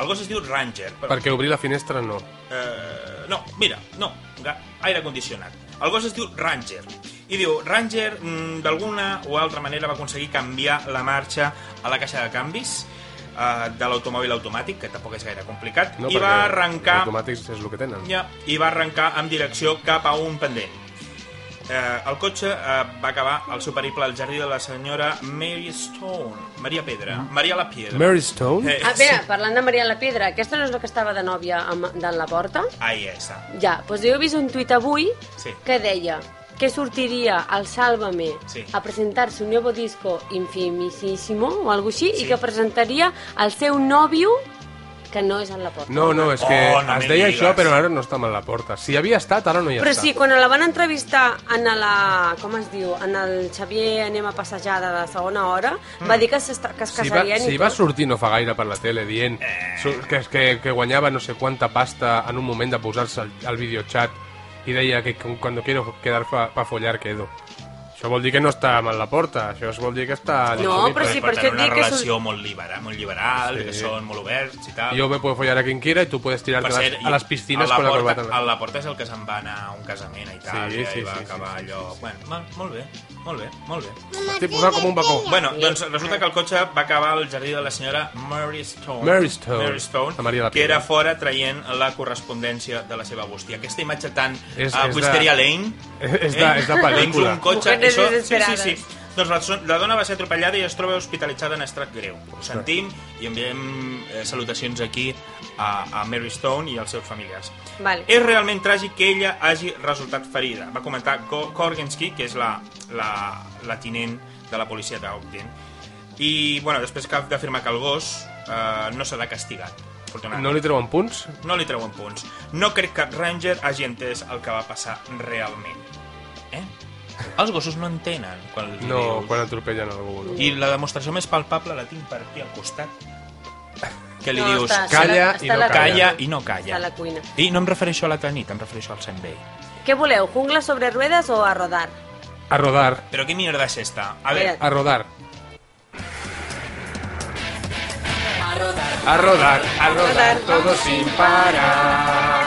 Speaker 2: El gos es diu Ranger, però...
Speaker 1: Perquè obrir la finestra no.
Speaker 2: Eh, no, mira, no, ga- aire condicionat. El gos es diu Ranger. I diu, Ranger mm, d'alguna o altra manera va aconseguir canviar la marxa a la caixa de canvis eh, de l'automòbil automàtic, que tampoc és gaire complicat,
Speaker 1: no
Speaker 2: i va
Speaker 1: perquè
Speaker 2: arrencar...
Speaker 1: Els automàtics és el que tenen.
Speaker 2: Ja, i va arrencar amb direcció cap a un pendent. Eh, el cotxe eh, va acabar el seu periple al jardí de la senyora Mary Stone, Maria Pedra, Maria la Piedra.
Speaker 1: Mm. Mary Stone?
Speaker 2: Eh,
Speaker 3: Ah, espera, parlant de Maria la Pedra, aquesta no és la que estava de nòvia amb, de la porta?
Speaker 2: Ahí està.
Speaker 3: Ja, doncs jo he vist un tuit avui
Speaker 2: Sí.
Speaker 3: que deia que sortiria al Sálvame
Speaker 2: Sí.
Speaker 3: a presentar-se un nuevo disco infimisísimo o algo així
Speaker 2: Sí.
Speaker 3: i que presentaria el seu nòvio que no és en la porta.
Speaker 1: No, no, és que
Speaker 2: Oh, no
Speaker 1: es
Speaker 2: me
Speaker 1: deia això,
Speaker 2: digues.
Speaker 1: però ara no està mal la porta. Si havia estat, ara no hi
Speaker 3: Però
Speaker 1: està.
Speaker 3: sí, quan la van entrevistar en la... com es diu? En el Xavier Anem a passejar de la segona hora, va dir que, s'està- que es
Speaker 1: si va,
Speaker 3: casarien
Speaker 1: si
Speaker 3: i
Speaker 1: va
Speaker 3: tot.
Speaker 1: sortir no fa gaire per la tele dient su- que, que, que guanyava no sé quanta pasta en un moment de posar-se al, al videochat i deia que cu- cuando quiero quedar pa, pa follar quedo. Això vol dir que no està mal la porta, això es vol dir que està...
Speaker 3: No,
Speaker 1: disponible.
Speaker 3: però si
Speaker 2: per
Speaker 3: per
Speaker 2: tant,
Speaker 3: això et
Speaker 2: una
Speaker 3: dic que...
Speaker 2: relació
Speaker 3: Són...
Speaker 2: molt liberal, molt liberal
Speaker 1: Sí.
Speaker 2: que són molt oberts i tal.
Speaker 1: Yo me puedo follar a quien quiera y tú puedes tirarte
Speaker 2: Per
Speaker 1: a
Speaker 2: cert,
Speaker 1: las- a les piscines
Speaker 2: a
Speaker 1: con la
Speaker 2: porta,
Speaker 1: corbata. en la-
Speaker 2: A la porta és el que se'n va anar a un casament a Itàlia
Speaker 1: Sí, sí,
Speaker 2: i va
Speaker 1: sí, sí,
Speaker 2: acabar
Speaker 1: sí, sí,
Speaker 2: allò... Bueno, mal, molt bé, molt bé, molt bé.
Speaker 1: Estic posat com un bacó.
Speaker 2: Bueno, doncs resulta que el cotxe va acabar al jardí de la senyora Mary Stone.
Speaker 1: Mary Stone.
Speaker 2: Mary Stone,
Speaker 1: La Maria la
Speaker 2: que era
Speaker 1: Piedra.
Speaker 2: fora traient la correspondència de la seva bústia. Aquesta imatge tan
Speaker 1: És- és
Speaker 2: a
Speaker 1: de-
Speaker 2: Wisteria Lane...
Speaker 1: És de- és de pel·lícula.
Speaker 2: Doncs un cotxe...
Speaker 3: Mujeres
Speaker 2: Això, sí, sí,
Speaker 3: desesperades.
Speaker 2: sí. Doncs la, so- la dona va ser atropellada i es troba hospitalitzada en estat greu. Ho sentim i enviem eh, salutacions aquí a, a Mary Stone i als seus familiars.
Speaker 3: Vale.
Speaker 2: És realment tràgic que ella hagi resultat ferida, va comentar Go- Korgenski, que és la, la, la tinent de la policia d'Ogden. I, bueno, després cap d'afirmar que el gos eh, no serà castigat.
Speaker 1: No
Speaker 2: afortunadament.
Speaker 1: li treuen punts?
Speaker 2: no li treuen punts. No crec que cap ranger hagi entès el que va passar realment. Eh? Els gossos no entenen quan els
Speaker 1: No,
Speaker 2: dius.
Speaker 1: quan atropellen algú. No?
Speaker 2: I la demostració més palpable la tinc per aquí al costat. Que li
Speaker 3: No,
Speaker 2: dius,
Speaker 3: està-
Speaker 2: "Ca-
Speaker 1: calla
Speaker 3: està
Speaker 1: i no
Speaker 3: la-
Speaker 1: calla.
Speaker 2: calla i no calla.
Speaker 3: Està a la cuina.
Speaker 2: I no em refereixo a la Tanit, em refereixo al Senbei.
Speaker 3: Què voleu, jungla sobre ruedes o a rodar?
Speaker 1: A rodar,
Speaker 2: Però què mierda és esta? A veure,
Speaker 3: Espera't.
Speaker 1: a rodar. A rodar, a rodar, todo sin parar.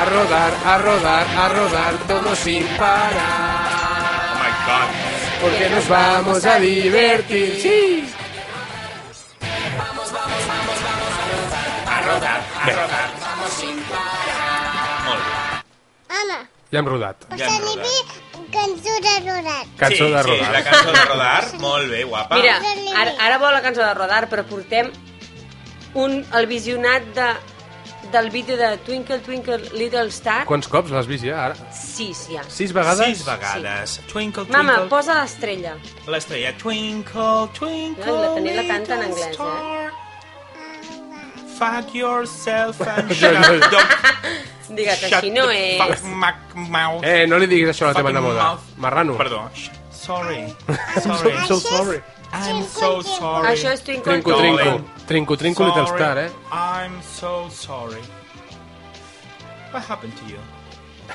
Speaker 1: A rodar, a rodar, a rodar, todo sin parar.
Speaker 2: oh my god.
Speaker 1: Porque nos vamos a divertir. Sí.
Speaker 2: Molt bé.
Speaker 9: Anna,
Speaker 1: Ja hem rodat.
Speaker 2: Ja hem rodat.
Speaker 9: cançó de rodat.
Speaker 1: Cançó
Speaker 2: sí,
Speaker 1: de
Speaker 2: Sí,
Speaker 1: rodar.
Speaker 2: la cançó de rodar. Molt bé, guapa.
Speaker 3: Mira, ara, ara vol la cançó de Rodar, però portem un, el visionat de, del vídeo de Twinkle Twinkle Little Star.
Speaker 1: Quants cops l'has vist ja, ara?
Speaker 3: Sis, ja.
Speaker 1: Sis vegades?
Speaker 2: Sis vegades. Twinkle, twinkle.
Speaker 3: Mama, posa l'estrella.
Speaker 2: L'estrella. Twinkle, twinkle,
Speaker 3: No, la tenia la canta en
Speaker 2: little
Speaker 3: anglès, eh?
Speaker 2: star. Fuck yourself and
Speaker 1: Jo
Speaker 2: shut
Speaker 1: no-
Speaker 2: up.
Speaker 3: Digues,
Speaker 2: Shut
Speaker 3: així no
Speaker 2: the
Speaker 3: és.
Speaker 2: fuck mac- mouth.
Speaker 1: Eh, no li diguis això a la teva
Speaker 2: Fucking
Speaker 1: neboda.
Speaker 2: mouth.
Speaker 1: Marrano.
Speaker 2: Perdó. Sh- Sorry. Sorry.
Speaker 1: I'm so sorry.
Speaker 2: I'm so sorry.
Speaker 3: Això és Twinkle
Speaker 1: Trinco,
Speaker 3: Twinkle.
Speaker 1: trinco.
Speaker 2: Darling.
Speaker 1: Trinco, trinco, little
Speaker 2: Sorry,
Speaker 1: star, eh?
Speaker 2: I'm so sorry. What happened to you?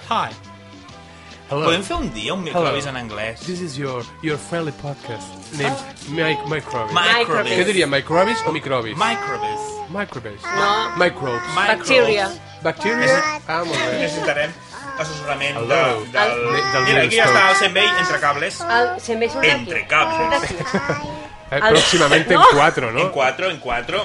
Speaker 2: Hi. Podem fer un dia un microbis en anglès?
Speaker 1: This is your, your friendly podcast named Mike Microbes.
Speaker 2: Microbis.
Speaker 1: Què diria, microbes o microbis?
Speaker 2: Microbis.
Speaker 1: Microbes.
Speaker 2: Ah.
Speaker 3: No,
Speaker 1: Microbes.
Speaker 3: bacteria.
Speaker 1: Bacteria? Ah, molt bé.
Speaker 2: Necessitarem assessorament de,
Speaker 1: Hello.
Speaker 2: del...
Speaker 1: Del- del
Speaker 2: Mira, aquí
Speaker 1: Middlestone.
Speaker 2: ja està el Senbei entre cables.
Speaker 3: El, se me surt d'aquí.
Speaker 2: Entre cables.
Speaker 1: Eh, Pròximament en
Speaker 3: No.
Speaker 1: 4, no?
Speaker 2: En 4, en 4.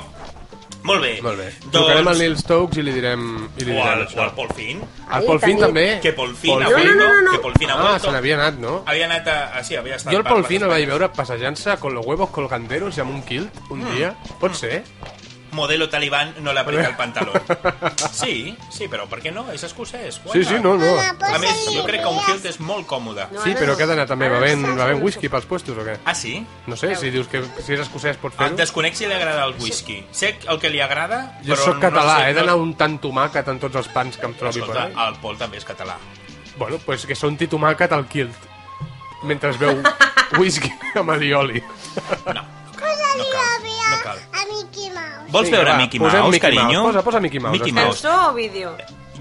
Speaker 2: Molt bé.
Speaker 1: Molt bé.
Speaker 2: Doncs,
Speaker 1: Trucarem al Neil Stokes i li direm, i li
Speaker 2: O
Speaker 1: direm
Speaker 2: al, o
Speaker 1: això.
Speaker 2: al Paul Finn.
Speaker 1: Al Paul Finn també?
Speaker 2: Que Paul Finn ha
Speaker 1: Paul
Speaker 2: vuelto.
Speaker 1: Finn?
Speaker 3: No, no, no, no.
Speaker 2: Que Paul Finn ha
Speaker 1: Ah, se
Speaker 2: vuelto.
Speaker 1: n'havia anat, no?
Speaker 2: Havia anat a... Ah, sí, havia estat...
Speaker 1: Jo el
Speaker 2: per-
Speaker 1: Paul
Speaker 2: per-
Speaker 1: Finn el vaig veure passejant-se con los huevos colganderos i amb un kilt un
Speaker 2: Mm.
Speaker 1: dia. Pot ser?
Speaker 2: Modelo talibán no le aprieta el pantalón. Sí, sí, però per què no? És escocès. Why
Speaker 1: Sí, sí, no,
Speaker 2: not?
Speaker 1: no.
Speaker 2: A més, jo crec que un kilt és molt còmode.
Speaker 3: No,
Speaker 1: Sí,
Speaker 3: ara
Speaker 1: però
Speaker 3: no.
Speaker 1: què ha d'anar també?
Speaker 3: Ara
Speaker 1: Bevent,
Speaker 3: saps
Speaker 1: bevent
Speaker 3: com
Speaker 1: whisky pels puestos o què?
Speaker 2: Ah, sí?
Speaker 1: No sé, si dius que si és escocès pots
Speaker 2: Em
Speaker 1: fer-ho.
Speaker 2: desconec si li agrada el whisky. Sé el que li agrada,
Speaker 1: Jo
Speaker 2: però
Speaker 1: sóc
Speaker 2: no
Speaker 1: català,
Speaker 2: sé,
Speaker 1: he d'anar
Speaker 2: no-
Speaker 1: un tant tomàquet en tots els pans que em trobi per
Speaker 2: Escolta, ah.
Speaker 1: ahí.
Speaker 2: el Pol també és català.
Speaker 1: Bueno, pues que són titomàquet al kilt mentre es veu whisky amb alioli.
Speaker 2: No, no cal, no cal. No cal.
Speaker 9: A Mickey Mouse.
Speaker 2: Vols
Speaker 1: Vinga,
Speaker 2: veure
Speaker 1: va,
Speaker 2: Mickey
Speaker 1: posem
Speaker 2: Mouse,
Speaker 1: Mickey
Speaker 2: carinyo?
Speaker 1: Mouse, posa- posa Mickey Mouse,
Speaker 2: Mickey
Speaker 1: està.
Speaker 2: Mouse.
Speaker 3: Cançó o vídeo?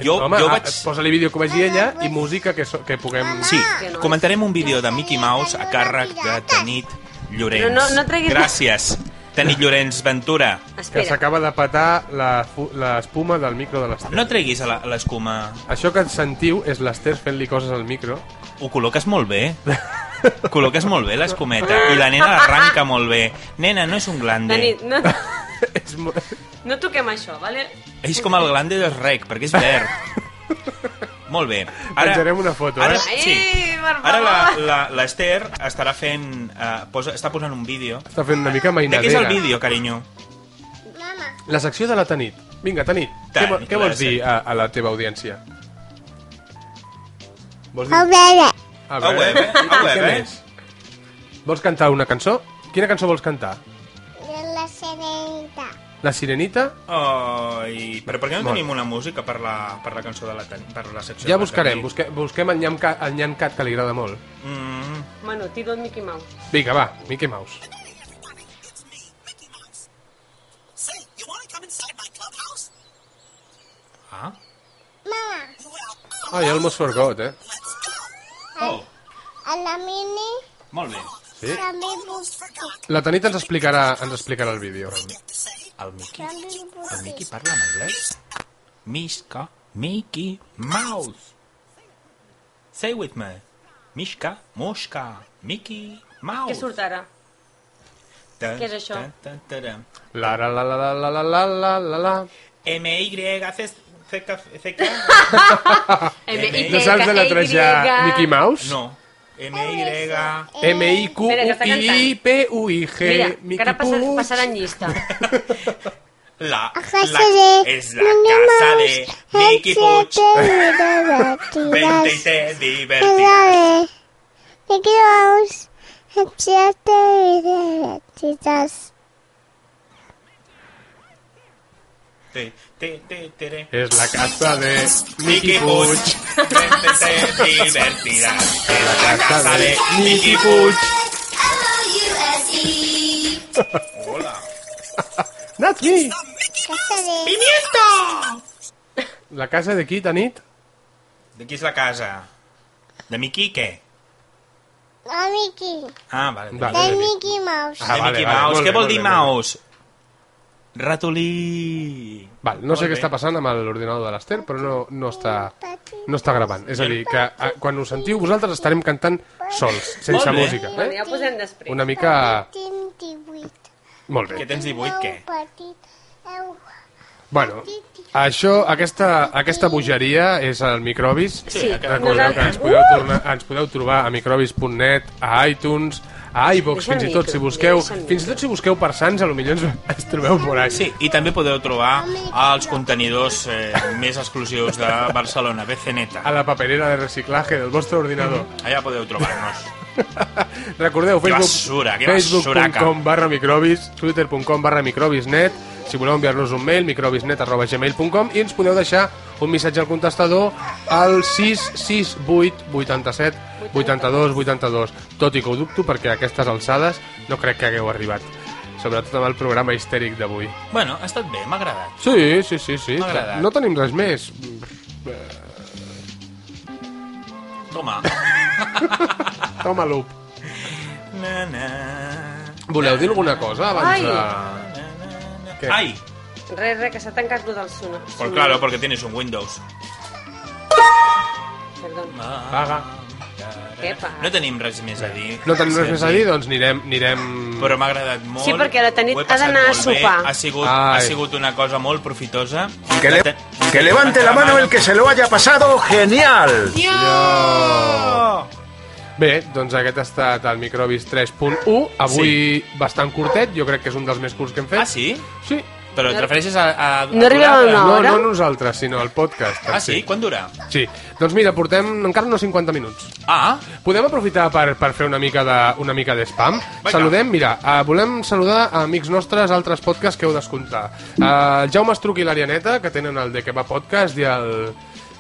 Speaker 2: Jo,
Speaker 1: Home,
Speaker 2: jo
Speaker 1: ah,
Speaker 2: vaig...
Speaker 1: posa-li vídeo que ho vegi ella i música que, so, que puguem...
Speaker 2: Sí,
Speaker 3: Que no.
Speaker 2: comentarem un vídeo de Mickey Mouse a càrrec de Tanit Llorenç.
Speaker 3: Però no- no treguis-
Speaker 2: Gràcies, Tanit Llorenç Ventura.
Speaker 1: Que
Speaker 3: Espera.
Speaker 1: s'acaba de petar la fu- l'espuma del micro de l'Ester.
Speaker 2: No treguis a la- a l'escuma.
Speaker 1: Això que sentiu és l'Ester fent-li coses al micro.
Speaker 2: Ho col·loques molt bé. col·loques molt bé l'escumeta. I la nena l'arranca molt bé. Nena, no és un glande.
Speaker 3: Dani, no,
Speaker 1: és mo...
Speaker 3: no toquem això, vale?
Speaker 2: És com el glande del rec, perquè és verd. Molt bé.
Speaker 1: Penjarem una foto, eh?
Speaker 2: ara, Sí.
Speaker 3: Ai, per favor.
Speaker 2: Ara la- la- l'Ester estarà fent... eh, posa, està posant un vídeo.
Speaker 1: Està fent una mica
Speaker 2: De
Speaker 1: mainadera.
Speaker 2: què és el vídeo, carinyo?
Speaker 9: Mama,
Speaker 1: La secció de la Tanit. Vinga, Tanit, què,
Speaker 2: Tanit,
Speaker 1: vo- què vols
Speaker 2: la
Speaker 1: dir a, a la teva audiència? Vols
Speaker 9: a veure,
Speaker 1: A
Speaker 2: A web, eh? A
Speaker 1: I
Speaker 2: web,
Speaker 1: què
Speaker 2: eh?
Speaker 1: més? Vols cantar una cançó? Quina cançó vols cantar?
Speaker 9: de la serenita.
Speaker 1: La Sirenita?
Speaker 2: Ai, però per què no
Speaker 1: Molt.
Speaker 2: tenim una música per la, per la cançó de la, Tan- per la secció?
Speaker 1: Ja
Speaker 2: de la
Speaker 1: buscarem,
Speaker 2: Tanit?
Speaker 1: busque, busquem el Nyan, Cat, el Nyan Cat, que li agrada molt.
Speaker 2: Mm,
Speaker 3: Bueno, tiro el Mickey Mouse.
Speaker 1: Vinga, va, Mickey Mouse.
Speaker 2: ah,
Speaker 9: Mama,
Speaker 1: Ah, I almost forgot, eh?
Speaker 2: Oh.
Speaker 9: a la mini
Speaker 2: molt bé. ¿Eh?
Speaker 1: Sí?
Speaker 9: també puc dir.
Speaker 1: La Tanit ens explicarà, ens explicarà el vídeo.
Speaker 2: El Mickey,
Speaker 9: També puc
Speaker 2: el Mickey
Speaker 9: dir.
Speaker 2: parla en anglès? Mishka, Mickey Mouse. Say with me. Mishka, Moshka, Mickey Mouse.
Speaker 3: Què surt ara?
Speaker 2: Ta-
Speaker 3: Què és això?
Speaker 2: ta- ta- ta- ta.
Speaker 1: La la la la la la la la la la
Speaker 2: M-Y-C-C-K...
Speaker 3: M-I-C-K-Y.
Speaker 1: No saps de la treja Mickey Mouse?
Speaker 2: No. M-Y...
Speaker 1: Eh,
Speaker 3: Espera, que està
Speaker 1: M-I-Q-U-I-P-U-I-G
Speaker 3: Mira, que
Speaker 1: Mickey
Speaker 3: ara passa,
Speaker 1: Puig.
Speaker 3: passaran llista.
Speaker 2: Eh? La,
Speaker 9: Casa
Speaker 2: la,
Speaker 9: de
Speaker 2: és la casa de Mickey Puig. Vente y
Speaker 9: Puig.
Speaker 2: te divertiràs.
Speaker 9: Cuidado. Me quiero aus. Encierte y quizás.
Speaker 2: Te, te, te, te, te.
Speaker 1: És la casa de
Speaker 2: Mickey
Speaker 1: Mickey
Speaker 2: Puig.
Speaker 1: Puig.
Speaker 2: Vente y te divertiràs. És la casa
Speaker 1: Casa
Speaker 2: de
Speaker 1: de
Speaker 2: Mickey Puig. Hola.
Speaker 1: That's me!
Speaker 9: Casa de.
Speaker 2: Pimiento!
Speaker 1: La casa de qui, Tanit?
Speaker 2: De qui és la casa? De Mickey què?
Speaker 9: A Mickey.
Speaker 2: Ah, vale. De,
Speaker 1: Vale.
Speaker 2: de
Speaker 9: De Mickey Mouse.
Speaker 1: Ah, vale,
Speaker 2: Mickey
Speaker 1: vale,
Speaker 2: Mouse.
Speaker 1: molt
Speaker 2: què
Speaker 1: bé,
Speaker 2: vol
Speaker 1: molt
Speaker 2: dir
Speaker 1: bé, molt
Speaker 2: Mouse? Ratolí.
Speaker 1: Val, no sé
Speaker 2: Molt
Speaker 1: què
Speaker 2: bé.
Speaker 1: està passant amb l'ordinador de l'Ester, però no, no, està, no està gravant. És a dir, que a, quan ho sentiu vosaltres estarem cantant sols, sense
Speaker 2: Molt bé.
Speaker 1: música.
Speaker 3: Bueno,
Speaker 1: Eh?
Speaker 3: ja ho posem després.
Speaker 1: Una mica...
Speaker 9: Tinc 18.
Speaker 1: Molt
Speaker 2: Que
Speaker 1: bé.
Speaker 2: tens 18, què?
Speaker 9: Petit. Eu.
Speaker 1: Bueno, això, aquesta, aquesta bogeria és el Microbis.
Speaker 2: Sí, Uh!
Speaker 1: Recordeu que ens podeu, tornar, ens podeu trobar a microbis.net, a iTunes, a iVox,
Speaker 3: Deixa el
Speaker 1: fins i tot
Speaker 3: micro,
Speaker 1: si busqueu,
Speaker 3: deixa el micro.
Speaker 1: fins i tot si busqueu per Sants, a lo millor ens, ens trobeu por allà.
Speaker 2: Sí, i també podeu trobar els contenidors eh, més exclusius de Barcelona, BCNeta.
Speaker 1: a la paperera de reciclaje del vostre ordinador.
Speaker 2: Allà podeu trobar-nos.
Speaker 1: Recordeu,
Speaker 2: Que
Speaker 1: Facebook-
Speaker 2: basura, que basuraca.
Speaker 1: facebook.com barra microbis, twitter.com barra microbisnet, si voleu enviar-nos un mail, microbisnet arroba gmail.com i ens podeu deixar un missatge al contestador al 668 87 82 82. Tot i que ho dubto perquè a aquestes alçades no crec que hagueu arribat. Sobretot amb el programa histèric d'avui.
Speaker 2: Bueno, ha estat bé, m'ha agradat.
Speaker 1: Sí, sí, sí, sí.
Speaker 2: M'ha agradat.
Speaker 1: No tenim res més.
Speaker 2: Toma.
Speaker 1: Toma l'up.
Speaker 2: Na, na,
Speaker 1: Voleu dir alguna cosa abans
Speaker 3: Ai.
Speaker 1: de...
Speaker 2: na, na, na.
Speaker 1: Què?
Speaker 2: Ai,
Speaker 3: Res, res, que s'ha tancat lo del sonar.
Speaker 2: pues claro, porque tienes un Windows.
Speaker 3: Perdó.
Speaker 1: Paga.
Speaker 3: Què passa?
Speaker 2: No tenim res més a dir.
Speaker 1: No tenim res més a dir? Doncs anirem... anirem...
Speaker 2: Però m'ha agradat molt.
Speaker 3: Sí, perquè la Tanit
Speaker 2: Ho he
Speaker 3: ha
Speaker 2: passat
Speaker 3: d'anar a
Speaker 2: molt bé.
Speaker 3: sopar.
Speaker 2: Ha sigut,
Speaker 1: Ai.
Speaker 2: ha sigut una cosa molt profitosa.
Speaker 8: Que, le-
Speaker 2: Te-
Speaker 8: que levante la mano el que se lo haya pasado genial.
Speaker 1: Bé, doncs aquest ha estat el Microbis 3.1. Avui bastant curtet, jo crec que és un dels més curts que hem fet.
Speaker 2: Ah, sí?
Speaker 1: Sí.
Speaker 2: Però et refereixes a... a, a
Speaker 3: No arribem
Speaker 2: durar-
Speaker 3: a una
Speaker 1: No,
Speaker 3: hora?
Speaker 1: no nosaltres, sinó el podcast.
Speaker 2: Ah, sí? Quan dura?
Speaker 1: Sí. Doncs mira, portem encara no 50 minuts.
Speaker 2: Ah,
Speaker 1: Podem aprofitar per, per fer una mica de, una mica de spam. Saludem, mira, uh, volem saludar a amics nostres, altres podcasts que heu d'escoltar. Uh, Jaume Estruc i l'Arianeta, que tenen el de que va podcast i el,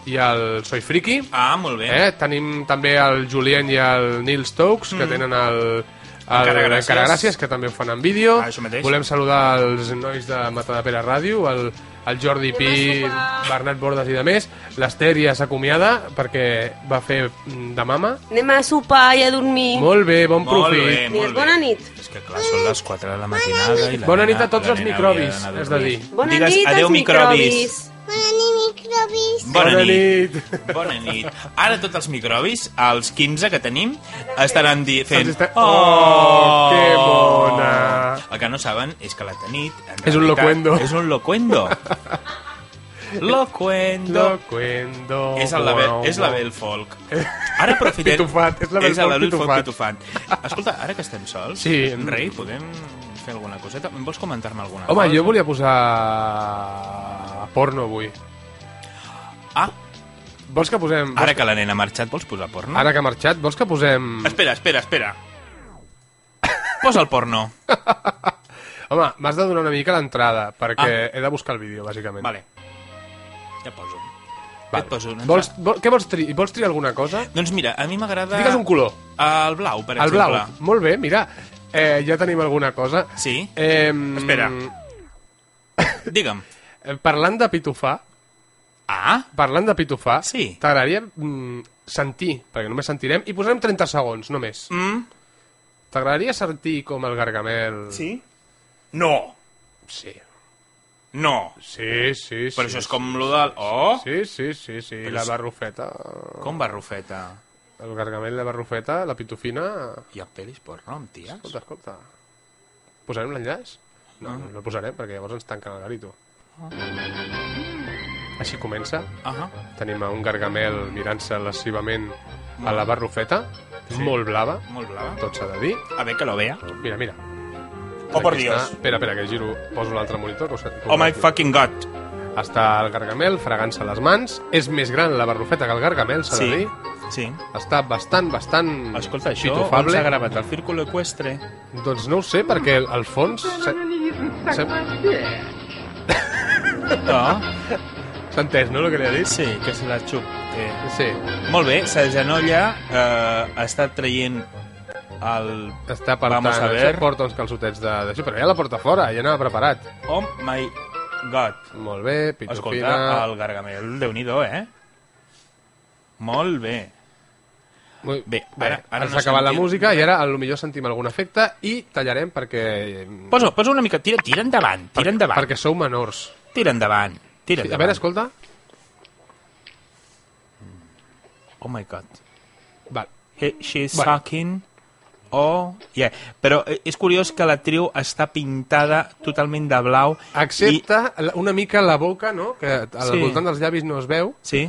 Speaker 1: i el Soy Friki.
Speaker 2: ah molt bé.
Speaker 1: Eh? Tenim també el Julien i el Neil Stokes, que tenen el... el
Speaker 2: Mm. Encara gràcies.
Speaker 1: Encara gràcies, que també ho fan en vídeo.
Speaker 2: Ah, això mateix.
Speaker 1: Volem saludar els nois de Mata de Pere Ràdio, el, el Jordi Pi, Bernat Bordes i de més. L'Ester ja s'acomiada perquè va fer mm, de mama.
Speaker 3: Anem a sopar i a dormir.
Speaker 1: Molt bé, bon
Speaker 2: Molt
Speaker 1: profit.
Speaker 2: bé, molt
Speaker 3: Digues
Speaker 2: bé.
Speaker 3: bona nit.
Speaker 2: És que clar, són les 4 de la matinada i la
Speaker 1: Bona
Speaker 2: nena-
Speaker 1: nit a tots
Speaker 2: la
Speaker 1: els
Speaker 2: nena
Speaker 1: microbis,
Speaker 2: havia d'anar a
Speaker 1: és de
Speaker 2: dormir.
Speaker 1: dir.
Speaker 3: Bona
Speaker 2: Digues
Speaker 3: nit als
Speaker 2: adéu, microbis.
Speaker 9: Bona nit, microbis.
Speaker 2: Bona,
Speaker 1: Bona
Speaker 2: nit.
Speaker 1: nit.
Speaker 2: Bona nit. Ara tots els microbis, els 15 que tenim, estaran di fent...
Speaker 1: Ens Doncs està- Oh, que mona.
Speaker 2: El que no saben és que la Tanit... en
Speaker 1: És un
Speaker 2: realitat,
Speaker 1: locuendo.
Speaker 2: És un locuendo. Lo cuento.
Speaker 1: Lo cuento.
Speaker 2: És, el label, és l'Abel Folk. Ara aprofitem...
Speaker 1: Pitufat, és l'Abel Folk
Speaker 2: l'Abel
Speaker 1: pitufat.
Speaker 2: pitufat. Escolta, ara que estem sols,
Speaker 1: Sí.
Speaker 2: rei, podem fer alguna coseta? Vols comentar-me alguna
Speaker 1: Home,
Speaker 2: cosa?
Speaker 1: jo volia posar porno avui.
Speaker 2: Ah,
Speaker 1: Vols que posem...
Speaker 2: ara que la nena ha marxat, vols posar porno?
Speaker 1: Mm. Ara que ha marxat, vols que posem...
Speaker 2: Espera, espera, espera. Posa el porno.
Speaker 1: Home, m'has de donar una mica l'entrada, perquè he de buscar el vídeo, bàsicament.
Speaker 2: Ah. Vale. Ja poso.
Speaker 1: Vale.
Speaker 2: Et poso una
Speaker 1: Vols,
Speaker 2: entrada.
Speaker 1: vol, què vols triar? Vols triar alguna cosa?
Speaker 2: Doncs mira, a mi m'agrada...
Speaker 1: Digues un color.
Speaker 2: El blau, per
Speaker 1: el
Speaker 2: exemple.
Speaker 1: blau. Molt bé, mira. Eh, ja tenim alguna cosa.
Speaker 2: Sí?
Speaker 1: Eh,
Speaker 2: Espera. Digue'm.
Speaker 1: eh, Parlant de pitufar,
Speaker 2: Ah?
Speaker 1: parlant de pitufar,
Speaker 2: Sí.
Speaker 1: t'agradaria mm, sentir, perquè només sentirem, i posarem 30 segons, només.
Speaker 2: Mm?
Speaker 1: T'agradaria sentir com el Gargamel...
Speaker 2: Sí? No.
Speaker 1: Sí,
Speaker 2: No.
Speaker 1: sí, sí. sí
Speaker 2: Però això és com lo del... Oh!
Speaker 1: Sí, sí, sí, sí.
Speaker 2: Però
Speaker 1: La
Speaker 2: és-
Speaker 1: barrufeta...
Speaker 2: Com barrufeta?
Speaker 1: El Gargamel, la barrufeta, la pitufina...
Speaker 2: Hi ha pel·lis porno amb ties?
Speaker 1: Escolta, escolta. Posarem l'enllaç? No, no, no el posarem, perquè llavors ens tanquen el garito. Així comença.
Speaker 2: Ahà.
Speaker 1: Tenim a un gargamel mirant-se lascivament a la barrufeta, molt blava,
Speaker 2: Molt blava.
Speaker 1: tot s'ha de dir.
Speaker 2: A veure que lo vea.
Speaker 1: Mira, mira.
Speaker 2: Oh, por
Speaker 1: Aquí està.
Speaker 2: Dios.
Speaker 1: Espera, espera, que giro, poso l'altre monitor. Que us, que us
Speaker 2: Oh my
Speaker 1: vegi.
Speaker 2: fucking god.
Speaker 1: Està el gargamel fregant-se les mans. És més gran la barrufeta que el gargamel, s'ha de
Speaker 2: Sí.
Speaker 1: dir.
Speaker 2: Sí.
Speaker 1: Està bastant, bastant
Speaker 2: Escolta, això on
Speaker 1: pitufable.
Speaker 2: s'ha gravat? El Círculo Equestre?
Speaker 1: Doncs no ho sé, perquè el, el fons... s'ha- s'ha-
Speaker 2: No?
Speaker 1: S'ha entès, no, el que li ha dit?
Speaker 2: Sí, que se la xup. Eh.
Speaker 1: Sí,
Speaker 2: Molt bé, s'agenolla, eh, està traient el...
Speaker 1: està per
Speaker 2: Vamos
Speaker 1: tant,
Speaker 2: a
Speaker 1: això
Speaker 2: ver.
Speaker 1: porta uns calçotets de- d'això, però ja la porta fora, ja anava preparat.
Speaker 2: Oh my god.
Speaker 1: Molt bé, pitufina...
Speaker 2: Escolta, el Gargamel, déu nhi eh? Molt bé.
Speaker 1: Molt
Speaker 2: Bé, ara- ara
Speaker 1: ens
Speaker 2: no
Speaker 1: ha acabat la
Speaker 2: sentim-
Speaker 1: música i ara a lo millor sentim algun efecte i tallarem perquè...
Speaker 2: Posa, posa una mica... Tira, tira endavant, tira endavant.
Speaker 1: Mm. Perquè sou menors.
Speaker 2: Tira endavant. Tira
Speaker 1: Sí,
Speaker 2: endavant.
Speaker 1: a veure, escolta.
Speaker 2: Oh my god.
Speaker 1: Val.
Speaker 2: He, she's
Speaker 1: Vale.
Speaker 2: sucking. Oh, yeah. Però eh, és curiós que l'actriu està pintada totalment de blau.
Speaker 1: Excepte la- una mica la boca, no?, que al
Speaker 2: Sí.
Speaker 1: voltant dels llavis no es veu,
Speaker 2: I... Sí?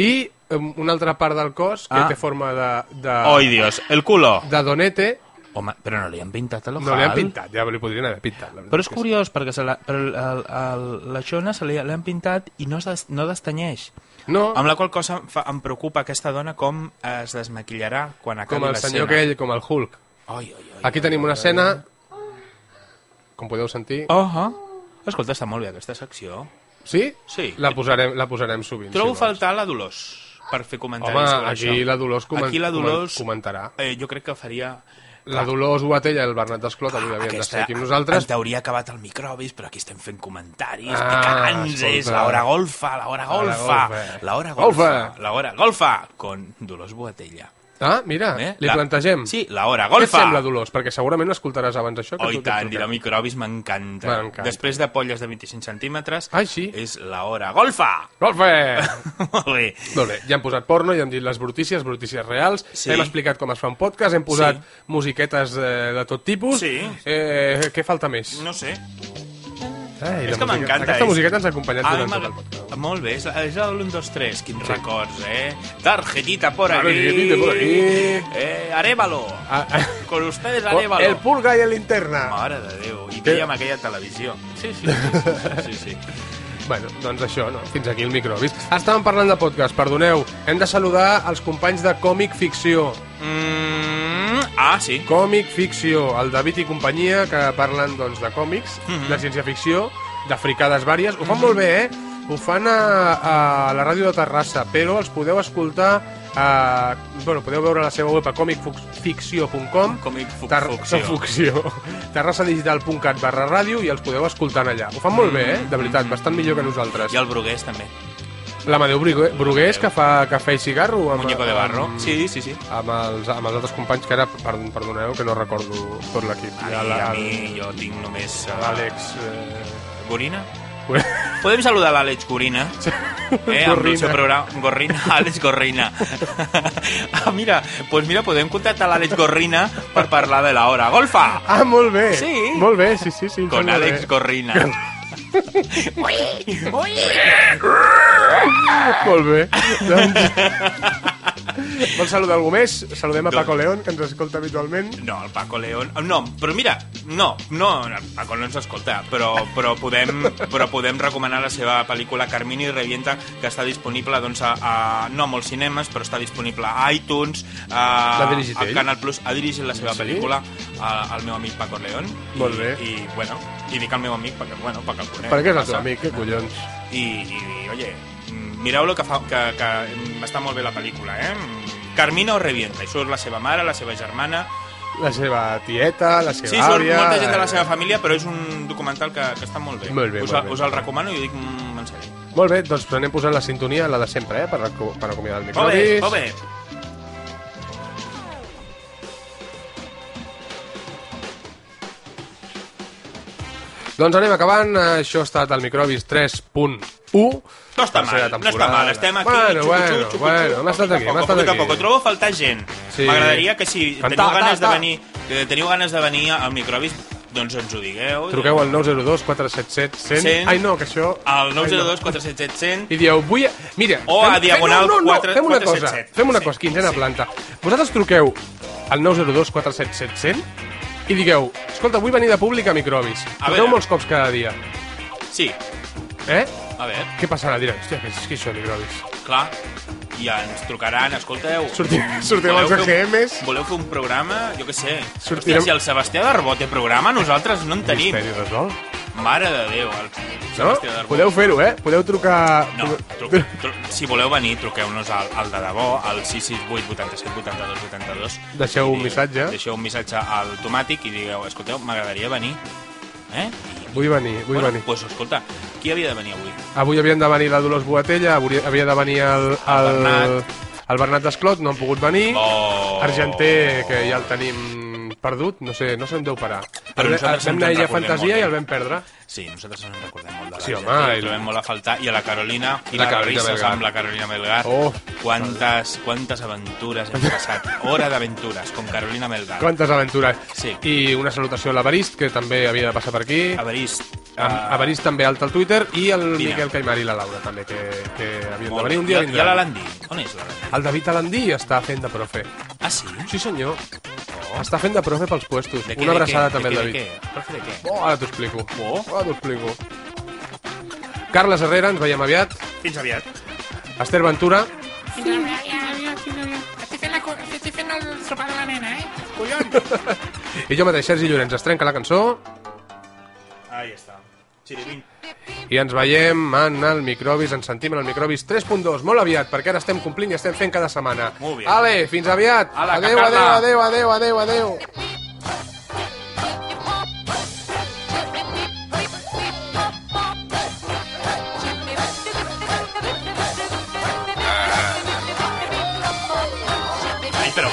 Speaker 1: i um, una altra part del cos que
Speaker 2: Ah.
Speaker 1: té forma de... de...
Speaker 2: Ai, Dios, el culo.
Speaker 1: de donete,
Speaker 2: Home, però no li han pintat l'ojal.
Speaker 1: no li han pintat, ja li podrien haver pintat. la veritat
Speaker 2: Però és
Speaker 1: que sí.
Speaker 2: curiós, perquè se la, per el, el, el, la xona se li, l'han pintat i no, es des, no destanyeix.
Speaker 1: No,
Speaker 2: Amb la qual cosa em, fa, em preocupa aquesta dona com es desmaquillarà quan acabi
Speaker 1: com el senyor aquell, com el Hulk.
Speaker 2: Ai, ai, ai.
Speaker 1: Aquí tenim una escena... Com podeu sentir...
Speaker 2: Oh, oh. Escolta, està molt bé aquesta secció.
Speaker 1: Sí?
Speaker 2: Sí.
Speaker 1: La posarem, la posarem sovint.
Speaker 2: Trobo
Speaker 1: si vols.
Speaker 2: faltar la Dolors per fer comentaris
Speaker 1: Home,
Speaker 2: sobre
Speaker 1: aquí
Speaker 2: això.
Speaker 1: la Dolors comen-
Speaker 2: Aquí la Dolors...
Speaker 1: comen- comentarà.
Speaker 2: Eh, jo crec que faria...
Speaker 1: La Dolors Boatella i el Bernat Desclot avui havien de ser aquí amb nosaltres.
Speaker 2: Ah, En teoria ha acabat el microbis, però aquí estem fent comentaris
Speaker 1: Ah,
Speaker 2: ah, picants,
Speaker 1: escolta.
Speaker 2: és l'hora golfa, l'hora golfa,
Speaker 1: golfa.
Speaker 2: l'hora golfa,
Speaker 1: Golfa.
Speaker 2: l'hora golfa, con Dolors Boatella.
Speaker 1: Ah, mira,
Speaker 2: Eh?
Speaker 1: li
Speaker 2: La-
Speaker 1: plantegem.
Speaker 2: Sí,
Speaker 1: Què
Speaker 2: l'hora
Speaker 1: et
Speaker 2: golfa.
Speaker 1: sembla, Dolors? Perquè segurament no escoltaràs abans això que
Speaker 2: Oh, i
Speaker 1: tu t'has trucat.
Speaker 2: tant, dirà microbis, m'encanta.
Speaker 1: M'encanta.
Speaker 2: Després de polles de 25 centímetres,
Speaker 1: Ai, sí.
Speaker 2: és l'hora golfa.
Speaker 1: Golfe!
Speaker 2: Molt bé.
Speaker 1: Molt bé, ja hem posat porno, ja hem dit les brutícies, brutícies reals,
Speaker 2: Sí.
Speaker 1: sí. hem explicat com es fa un podcast, hem posat
Speaker 2: Sí.
Speaker 1: sí. musiquetes eh, de tot tipus.
Speaker 2: Sí.
Speaker 1: Eh, què falta més?
Speaker 2: No sé,
Speaker 1: Ai,
Speaker 2: és
Speaker 1: la
Speaker 2: que
Speaker 1: música-
Speaker 2: m'encanta.
Speaker 1: Aquesta
Speaker 2: és-
Speaker 1: musiqueta ens ha acompanyat
Speaker 2: Ai,
Speaker 1: durant tot el
Speaker 2: m'agrada.
Speaker 1: podcast.
Speaker 2: Ah, Molt bé, és, és l'1, 2, 3, quins sí. records, eh? Tarjetita por aquí.
Speaker 1: Tarjetita por aquí.
Speaker 2: Eh, Arevalo.
Speaker 1: Ah, ah.
Speaker 2: Con ustedes,
Speaker 1: Oh,
Speaker 2: Arevalo.
Speaker 1: El Purga i el Linterna.
Speaker 2: Mare de Déu, i veiem aquella televisió. Sí, sí, sí, sí, sí.
Speaker 1: Bueno, doncs això, no? Fins aquí el microbis. Estàvem parlant de podcast, perdoneu. Hem de saludar els companys de Còmic Ficció.
Speaker 2: Mm, ah, sí.
Speaker 1: Còmic Ficció, el David i companyia, que parlen doncs, de còmics,
Speaker 2: Mhm.
Speaker 1: de ciència-ficció, de fricades vàries. Ho fan molt bé, eh? Ho fan a, a la ràdio de Terrassa, però els podeu escoltar a... Bueno, podeu veure la seva web a comicficció.com
Speaker 2: Còmic fuc-
Speaker 1: Tar-
Speaker 2: fucció.
Speaker 1: fucció. terrassadigital.cat barra ràdio i els podeu escoltar allà. Ho fan molt bé, eh? De veritat, bastant millor que nosaltres.
Speaker 2: I el Brugués, també.
Speaker 1: L'Amadeu Brugué- Brugués, que fa cafè i cigarro. Amb,
Speaker 2: Muñeco de barro.
Speaker 1: Amb,
Speaker 2: Sí, sí, sí.
Speaker 1: amb, els, amb els altres companys, que ara, perdon, perdoneu, que no recordo tot l'equip.
Speaker 2: A
Speaker 1: Hi ha
Speaker 2: mi,
Speaker 1: la-
Speaker 2: a mi jo tinc només... eh,
Speaker 1: L'Àlex... Eh...
Speaker 2: Gorina?
Speaker 1: Bueno,
Speaker 2: Podem saludar l'Àlex Gorina? Eh, amb el
Speaker 1: Gorrina.
Speaker 2: seu programa... Gorrina, Àlex Gorrina. ah, mira, pues mira, podem contactar l'Àlex Gorrina per parlar de la hora. Golfa!
Speaker 1: Ah, molt bé!
Speaker 2: Sí.
Speaker 1: Molt bé, sí, sí, sí. em
Speaker 2: Con
Speaker 1: sembla
Speaker 2: Àlex
Speaker 1: bé.
Speaker 2: Gorrina.
Speaker 1: Molt bé. Doncs... Vols saludar algú més? Saludem a Paco León, que ens escolta habitualment.
Speaker 2: No, el Paco León... eh, No, però mira, no, no, el Paco no ens escolta, però, però, podem, però podem recomanar la seva pel·lícula Carmini Revienta, que està disponible doncs, a, a, no a molts cinemes, però està disponible a iTunes, a,
Speaker 1: L'ha dirigit
Speaker 2: a
Speaker 1: ell?
Speaker 2: Canal Plus, ha dirigit la seva
Speaker 1: Sí?
Speaker 2: pel·lícula a- al meu amic Paco León. I-
Speaker 1: Molt bé.
Speaker 2: I, bueno, i dic al meu amic perquè, bueno, perquè el conec.
Speaker 1: Per què és el teu
Speaker 2: passa?
Speaker 1: amic? Què collons?
Speaker 2: I, i oye, mm, mireu-lo que, fa, que, que mm, està molt bé la pel·lícula, eh? Mm, Carmina o Revienta, i surt la seva mare, la seva germana,
Speaker 1: La seva tieta, la seva
Speaker 2: Sí, surt
Speaker 1: àvia...
Speaker 2: molta gent de la seva família, però és un documental que, que està molt bé.
Speaker 1: Molt bé,
Speaker 2: us,
Speaker 1: molt bé.
Speaker 2: us el recomano i ho dic mm, en sèrio.
Speaker 1: Molt bé, doncs anem posant la sintonia, la de sempre, eh? Per, reco- per acomiadar el
Speaker 2: Molt bé,
Speaker 1: microbis.
Speaker 2: molt bé.
Speaker 1: Doncs anem acabant. Això ha estat el microbis 3.1.
Speaker 2: No
Speaker 1: tercera
Speaker 2: està mal, no està
Speaker 1: temporada.
Speaker 2: mal, estem aquí.
Speaker 1: Bueno,
Speaker 2: xucu,
Speaker 1: bueno,
Speaker 2: xucu, xucu,
Speaker 1: bueno, hem estat
Speaker 2: poquito a
Speaker 1: aquí,
Speaker 2: poco,
Speaker 1: hem estat
Speaker 2: poquito a
Speaker 1: aquí.
Speaker 2: Poco. Trobo a faltar gent.
Speaker 1: Sí.
Speaker 2: M'agradaria que si
Speaker 1: Cantà,
Speaker 2: teniu ganes
Speaker 1: cantà.
Speaker 2: de venir, eh, teniu ganes de venir al Microbis, doncs ens ho digueu.
Speaker 1: Truqueu al 902 477 100.
Speaker 2: 100.
Speaker 1: Ai, no, que això...
Speaker 2: al
Speaker 1: Ai, no.
Speaker 2: 902 477 100
Speaker 1: I dieu, vull... Mira,
Speaker 2: O a diagonal
Speaker 1: no, no, no,
Speaker 2: 4-
Speaker 1: fem una
Speaker 2: 477.
Speaker 1: cosa, fem una
Speaker 2: Sí,
Speaker 1: cosa, quinzena
Speaker 2: sí.
Speaker 1: planta. Vosaltres truqueu al 902 477 100 i digueu, escolta, vull venir de públic a microbis.
Speaker 2: A
Speaker 1: Truqueu
Speaker 2: veure.
Speaker 1: molts cops cada dia.
Speaker 2: Sí,
Speaker 1: Eh?
Speaker 2: a veure,
Speaker 1: Què passarà? Direu, hòstia, què és que això, microbis?
Speaker 2: clar. I ja ens trucaran, escolteu...
Speaker 1: Sorti- sortirem
Speaker 2: voleu
Speaker 1: als
Speaker 2: fer un-
Speaker 1: AGMs?
Speaker 2: Voleu fer un programa? Jo què sé.
Speaker 1: Sortirem-
Speaker 2: Hòstia, si el Sebastià Darbó té programa, nosaltres no en tenim.
Speaker 1: Misteri resolt.
Speaker 2: Mare de Déu, el
Speaker 1: No?
Speaker 2: Sebastià Darbó.
Speaker 1: Podeu fer-ho, eh? Podeu trucar...
Speaker 2: No, tru, tru, si voleu venir, truqueu-nos al, al de debò, al 668 87 82 82.
Speaker 1: Deixeu
Speaker 2: I
Speaker 1: un missatge.
Speaker 2: Deixeu un missatge al Tomàtic i digueu, escolteu, m'agradaria venir. Eh?
Speaker 1: Vull venir, vull
Speaker 2: bueno,
Speaker 1: venir.
Speaker 2: Doncs escolta, qui havia de venir avui?
Speaker 1: Avui havien de venir la Dolors Boatella, avui- havia de venir el... El,
Speaker 2: El Bernat.
Speaker 1: el Bernat Desclot, no han pogut venir.
Speaker 2: Oh.
Speaker 1: Argenter, que ja el tenim perdut, no sé, no sé on deu parar.
Speaker 2: Però
Speaker 1: el,
Speaker 2: nosaltres
Speaker 1: vam
Speaker 2: ens en
Speaker 1: anar a Illa
Speaker 2: recordem
Speaker 1: Fantasia
Speaker 2: molt eh?
Speaker 1: i
Speaker 2: d'ell.
Speaker 1: el vam perdre.
Speaker 2: Sí, nosaltres ens en recordem molt de la
Speaker 1: Sí,
Speaker 2: gent,
Speaker 1: home,
Speaker 2: la
Speaker 1: i-
Speaker 2: trobem molt a faltar. I a la Carolina, i
Speaker 1: La
Speaker 2: la,
Speaker 1: Carolina
Speaker 2: risses
Speaker 1: Belgar.
Speaker 2: amb la Carolina Melgar.
Speaker 1: Oh.
Speaker 2: quantes, quantes aventures hem passat. Hora d'aventures, com Carolina Melgar.
Speaker 1: Quantes aventures.
Speaker 2: Sí.
Speaker 1: I una salutació a l'Avarist, que també havia de passar per aquí.
Speaker 2: Averist. eh,
Speaker 1: Am- Avarist també alta al Twitter. I el
Speaker 2: Vine.
Speaker 1: Miquel Caimar i la Laura, també, que, que havien
Speaker 2: Molt
Speaker 1: de venir.
Speaker 2: bé.
Speaker 1: Un dia
Speaker 2: I- I a
Speaker 1: vindran.
Speaker 2: l'Alandi? On és l'Alandi?
Speaker 1: El David Alandí està fent de profe.
Speaker 2: Ah, sí?
Speaker 1: Sí, senyor. Està fent de profe pels puestos.
Speaker 2: De què,
Speaker 1: Una
Speaker 2: de
Speaker 1: abraçada
Speaker 2: què?
Speaker 1: també al
Speaker 2: de
Speaker 1: David.
Speaker 2: què, De què? Profe, de què?
Speaker 1: Oh, ara t'ho explico.
Speaker 2: Oh.
Speaker 1: Ara t'ho explico. Carles Herrera, ens veiem aviat.
Speaker 2: Fins aviat.
Speaker 1: Esther Ventura. I jo mateix, Sergi Llorenç, es trenca la cançó
Speaker 2: Ahí està. Xirivint.
Speaker 1: i ens veiem en el Microbis, ens sentim en el Microbis 3.2, molt aviat, perquè ara estem complint i estem fent cada setmana.
Speaker 2: Molt bé.
Speaker 1: Ale, fins aviat.
Speaker 2: Ala, que
Speaker 1: adeu, adeu,
Speaker 2: Carla.
Speaker 1: adeu, adeu, adeu, adeu.
Speaker 2: Ai, però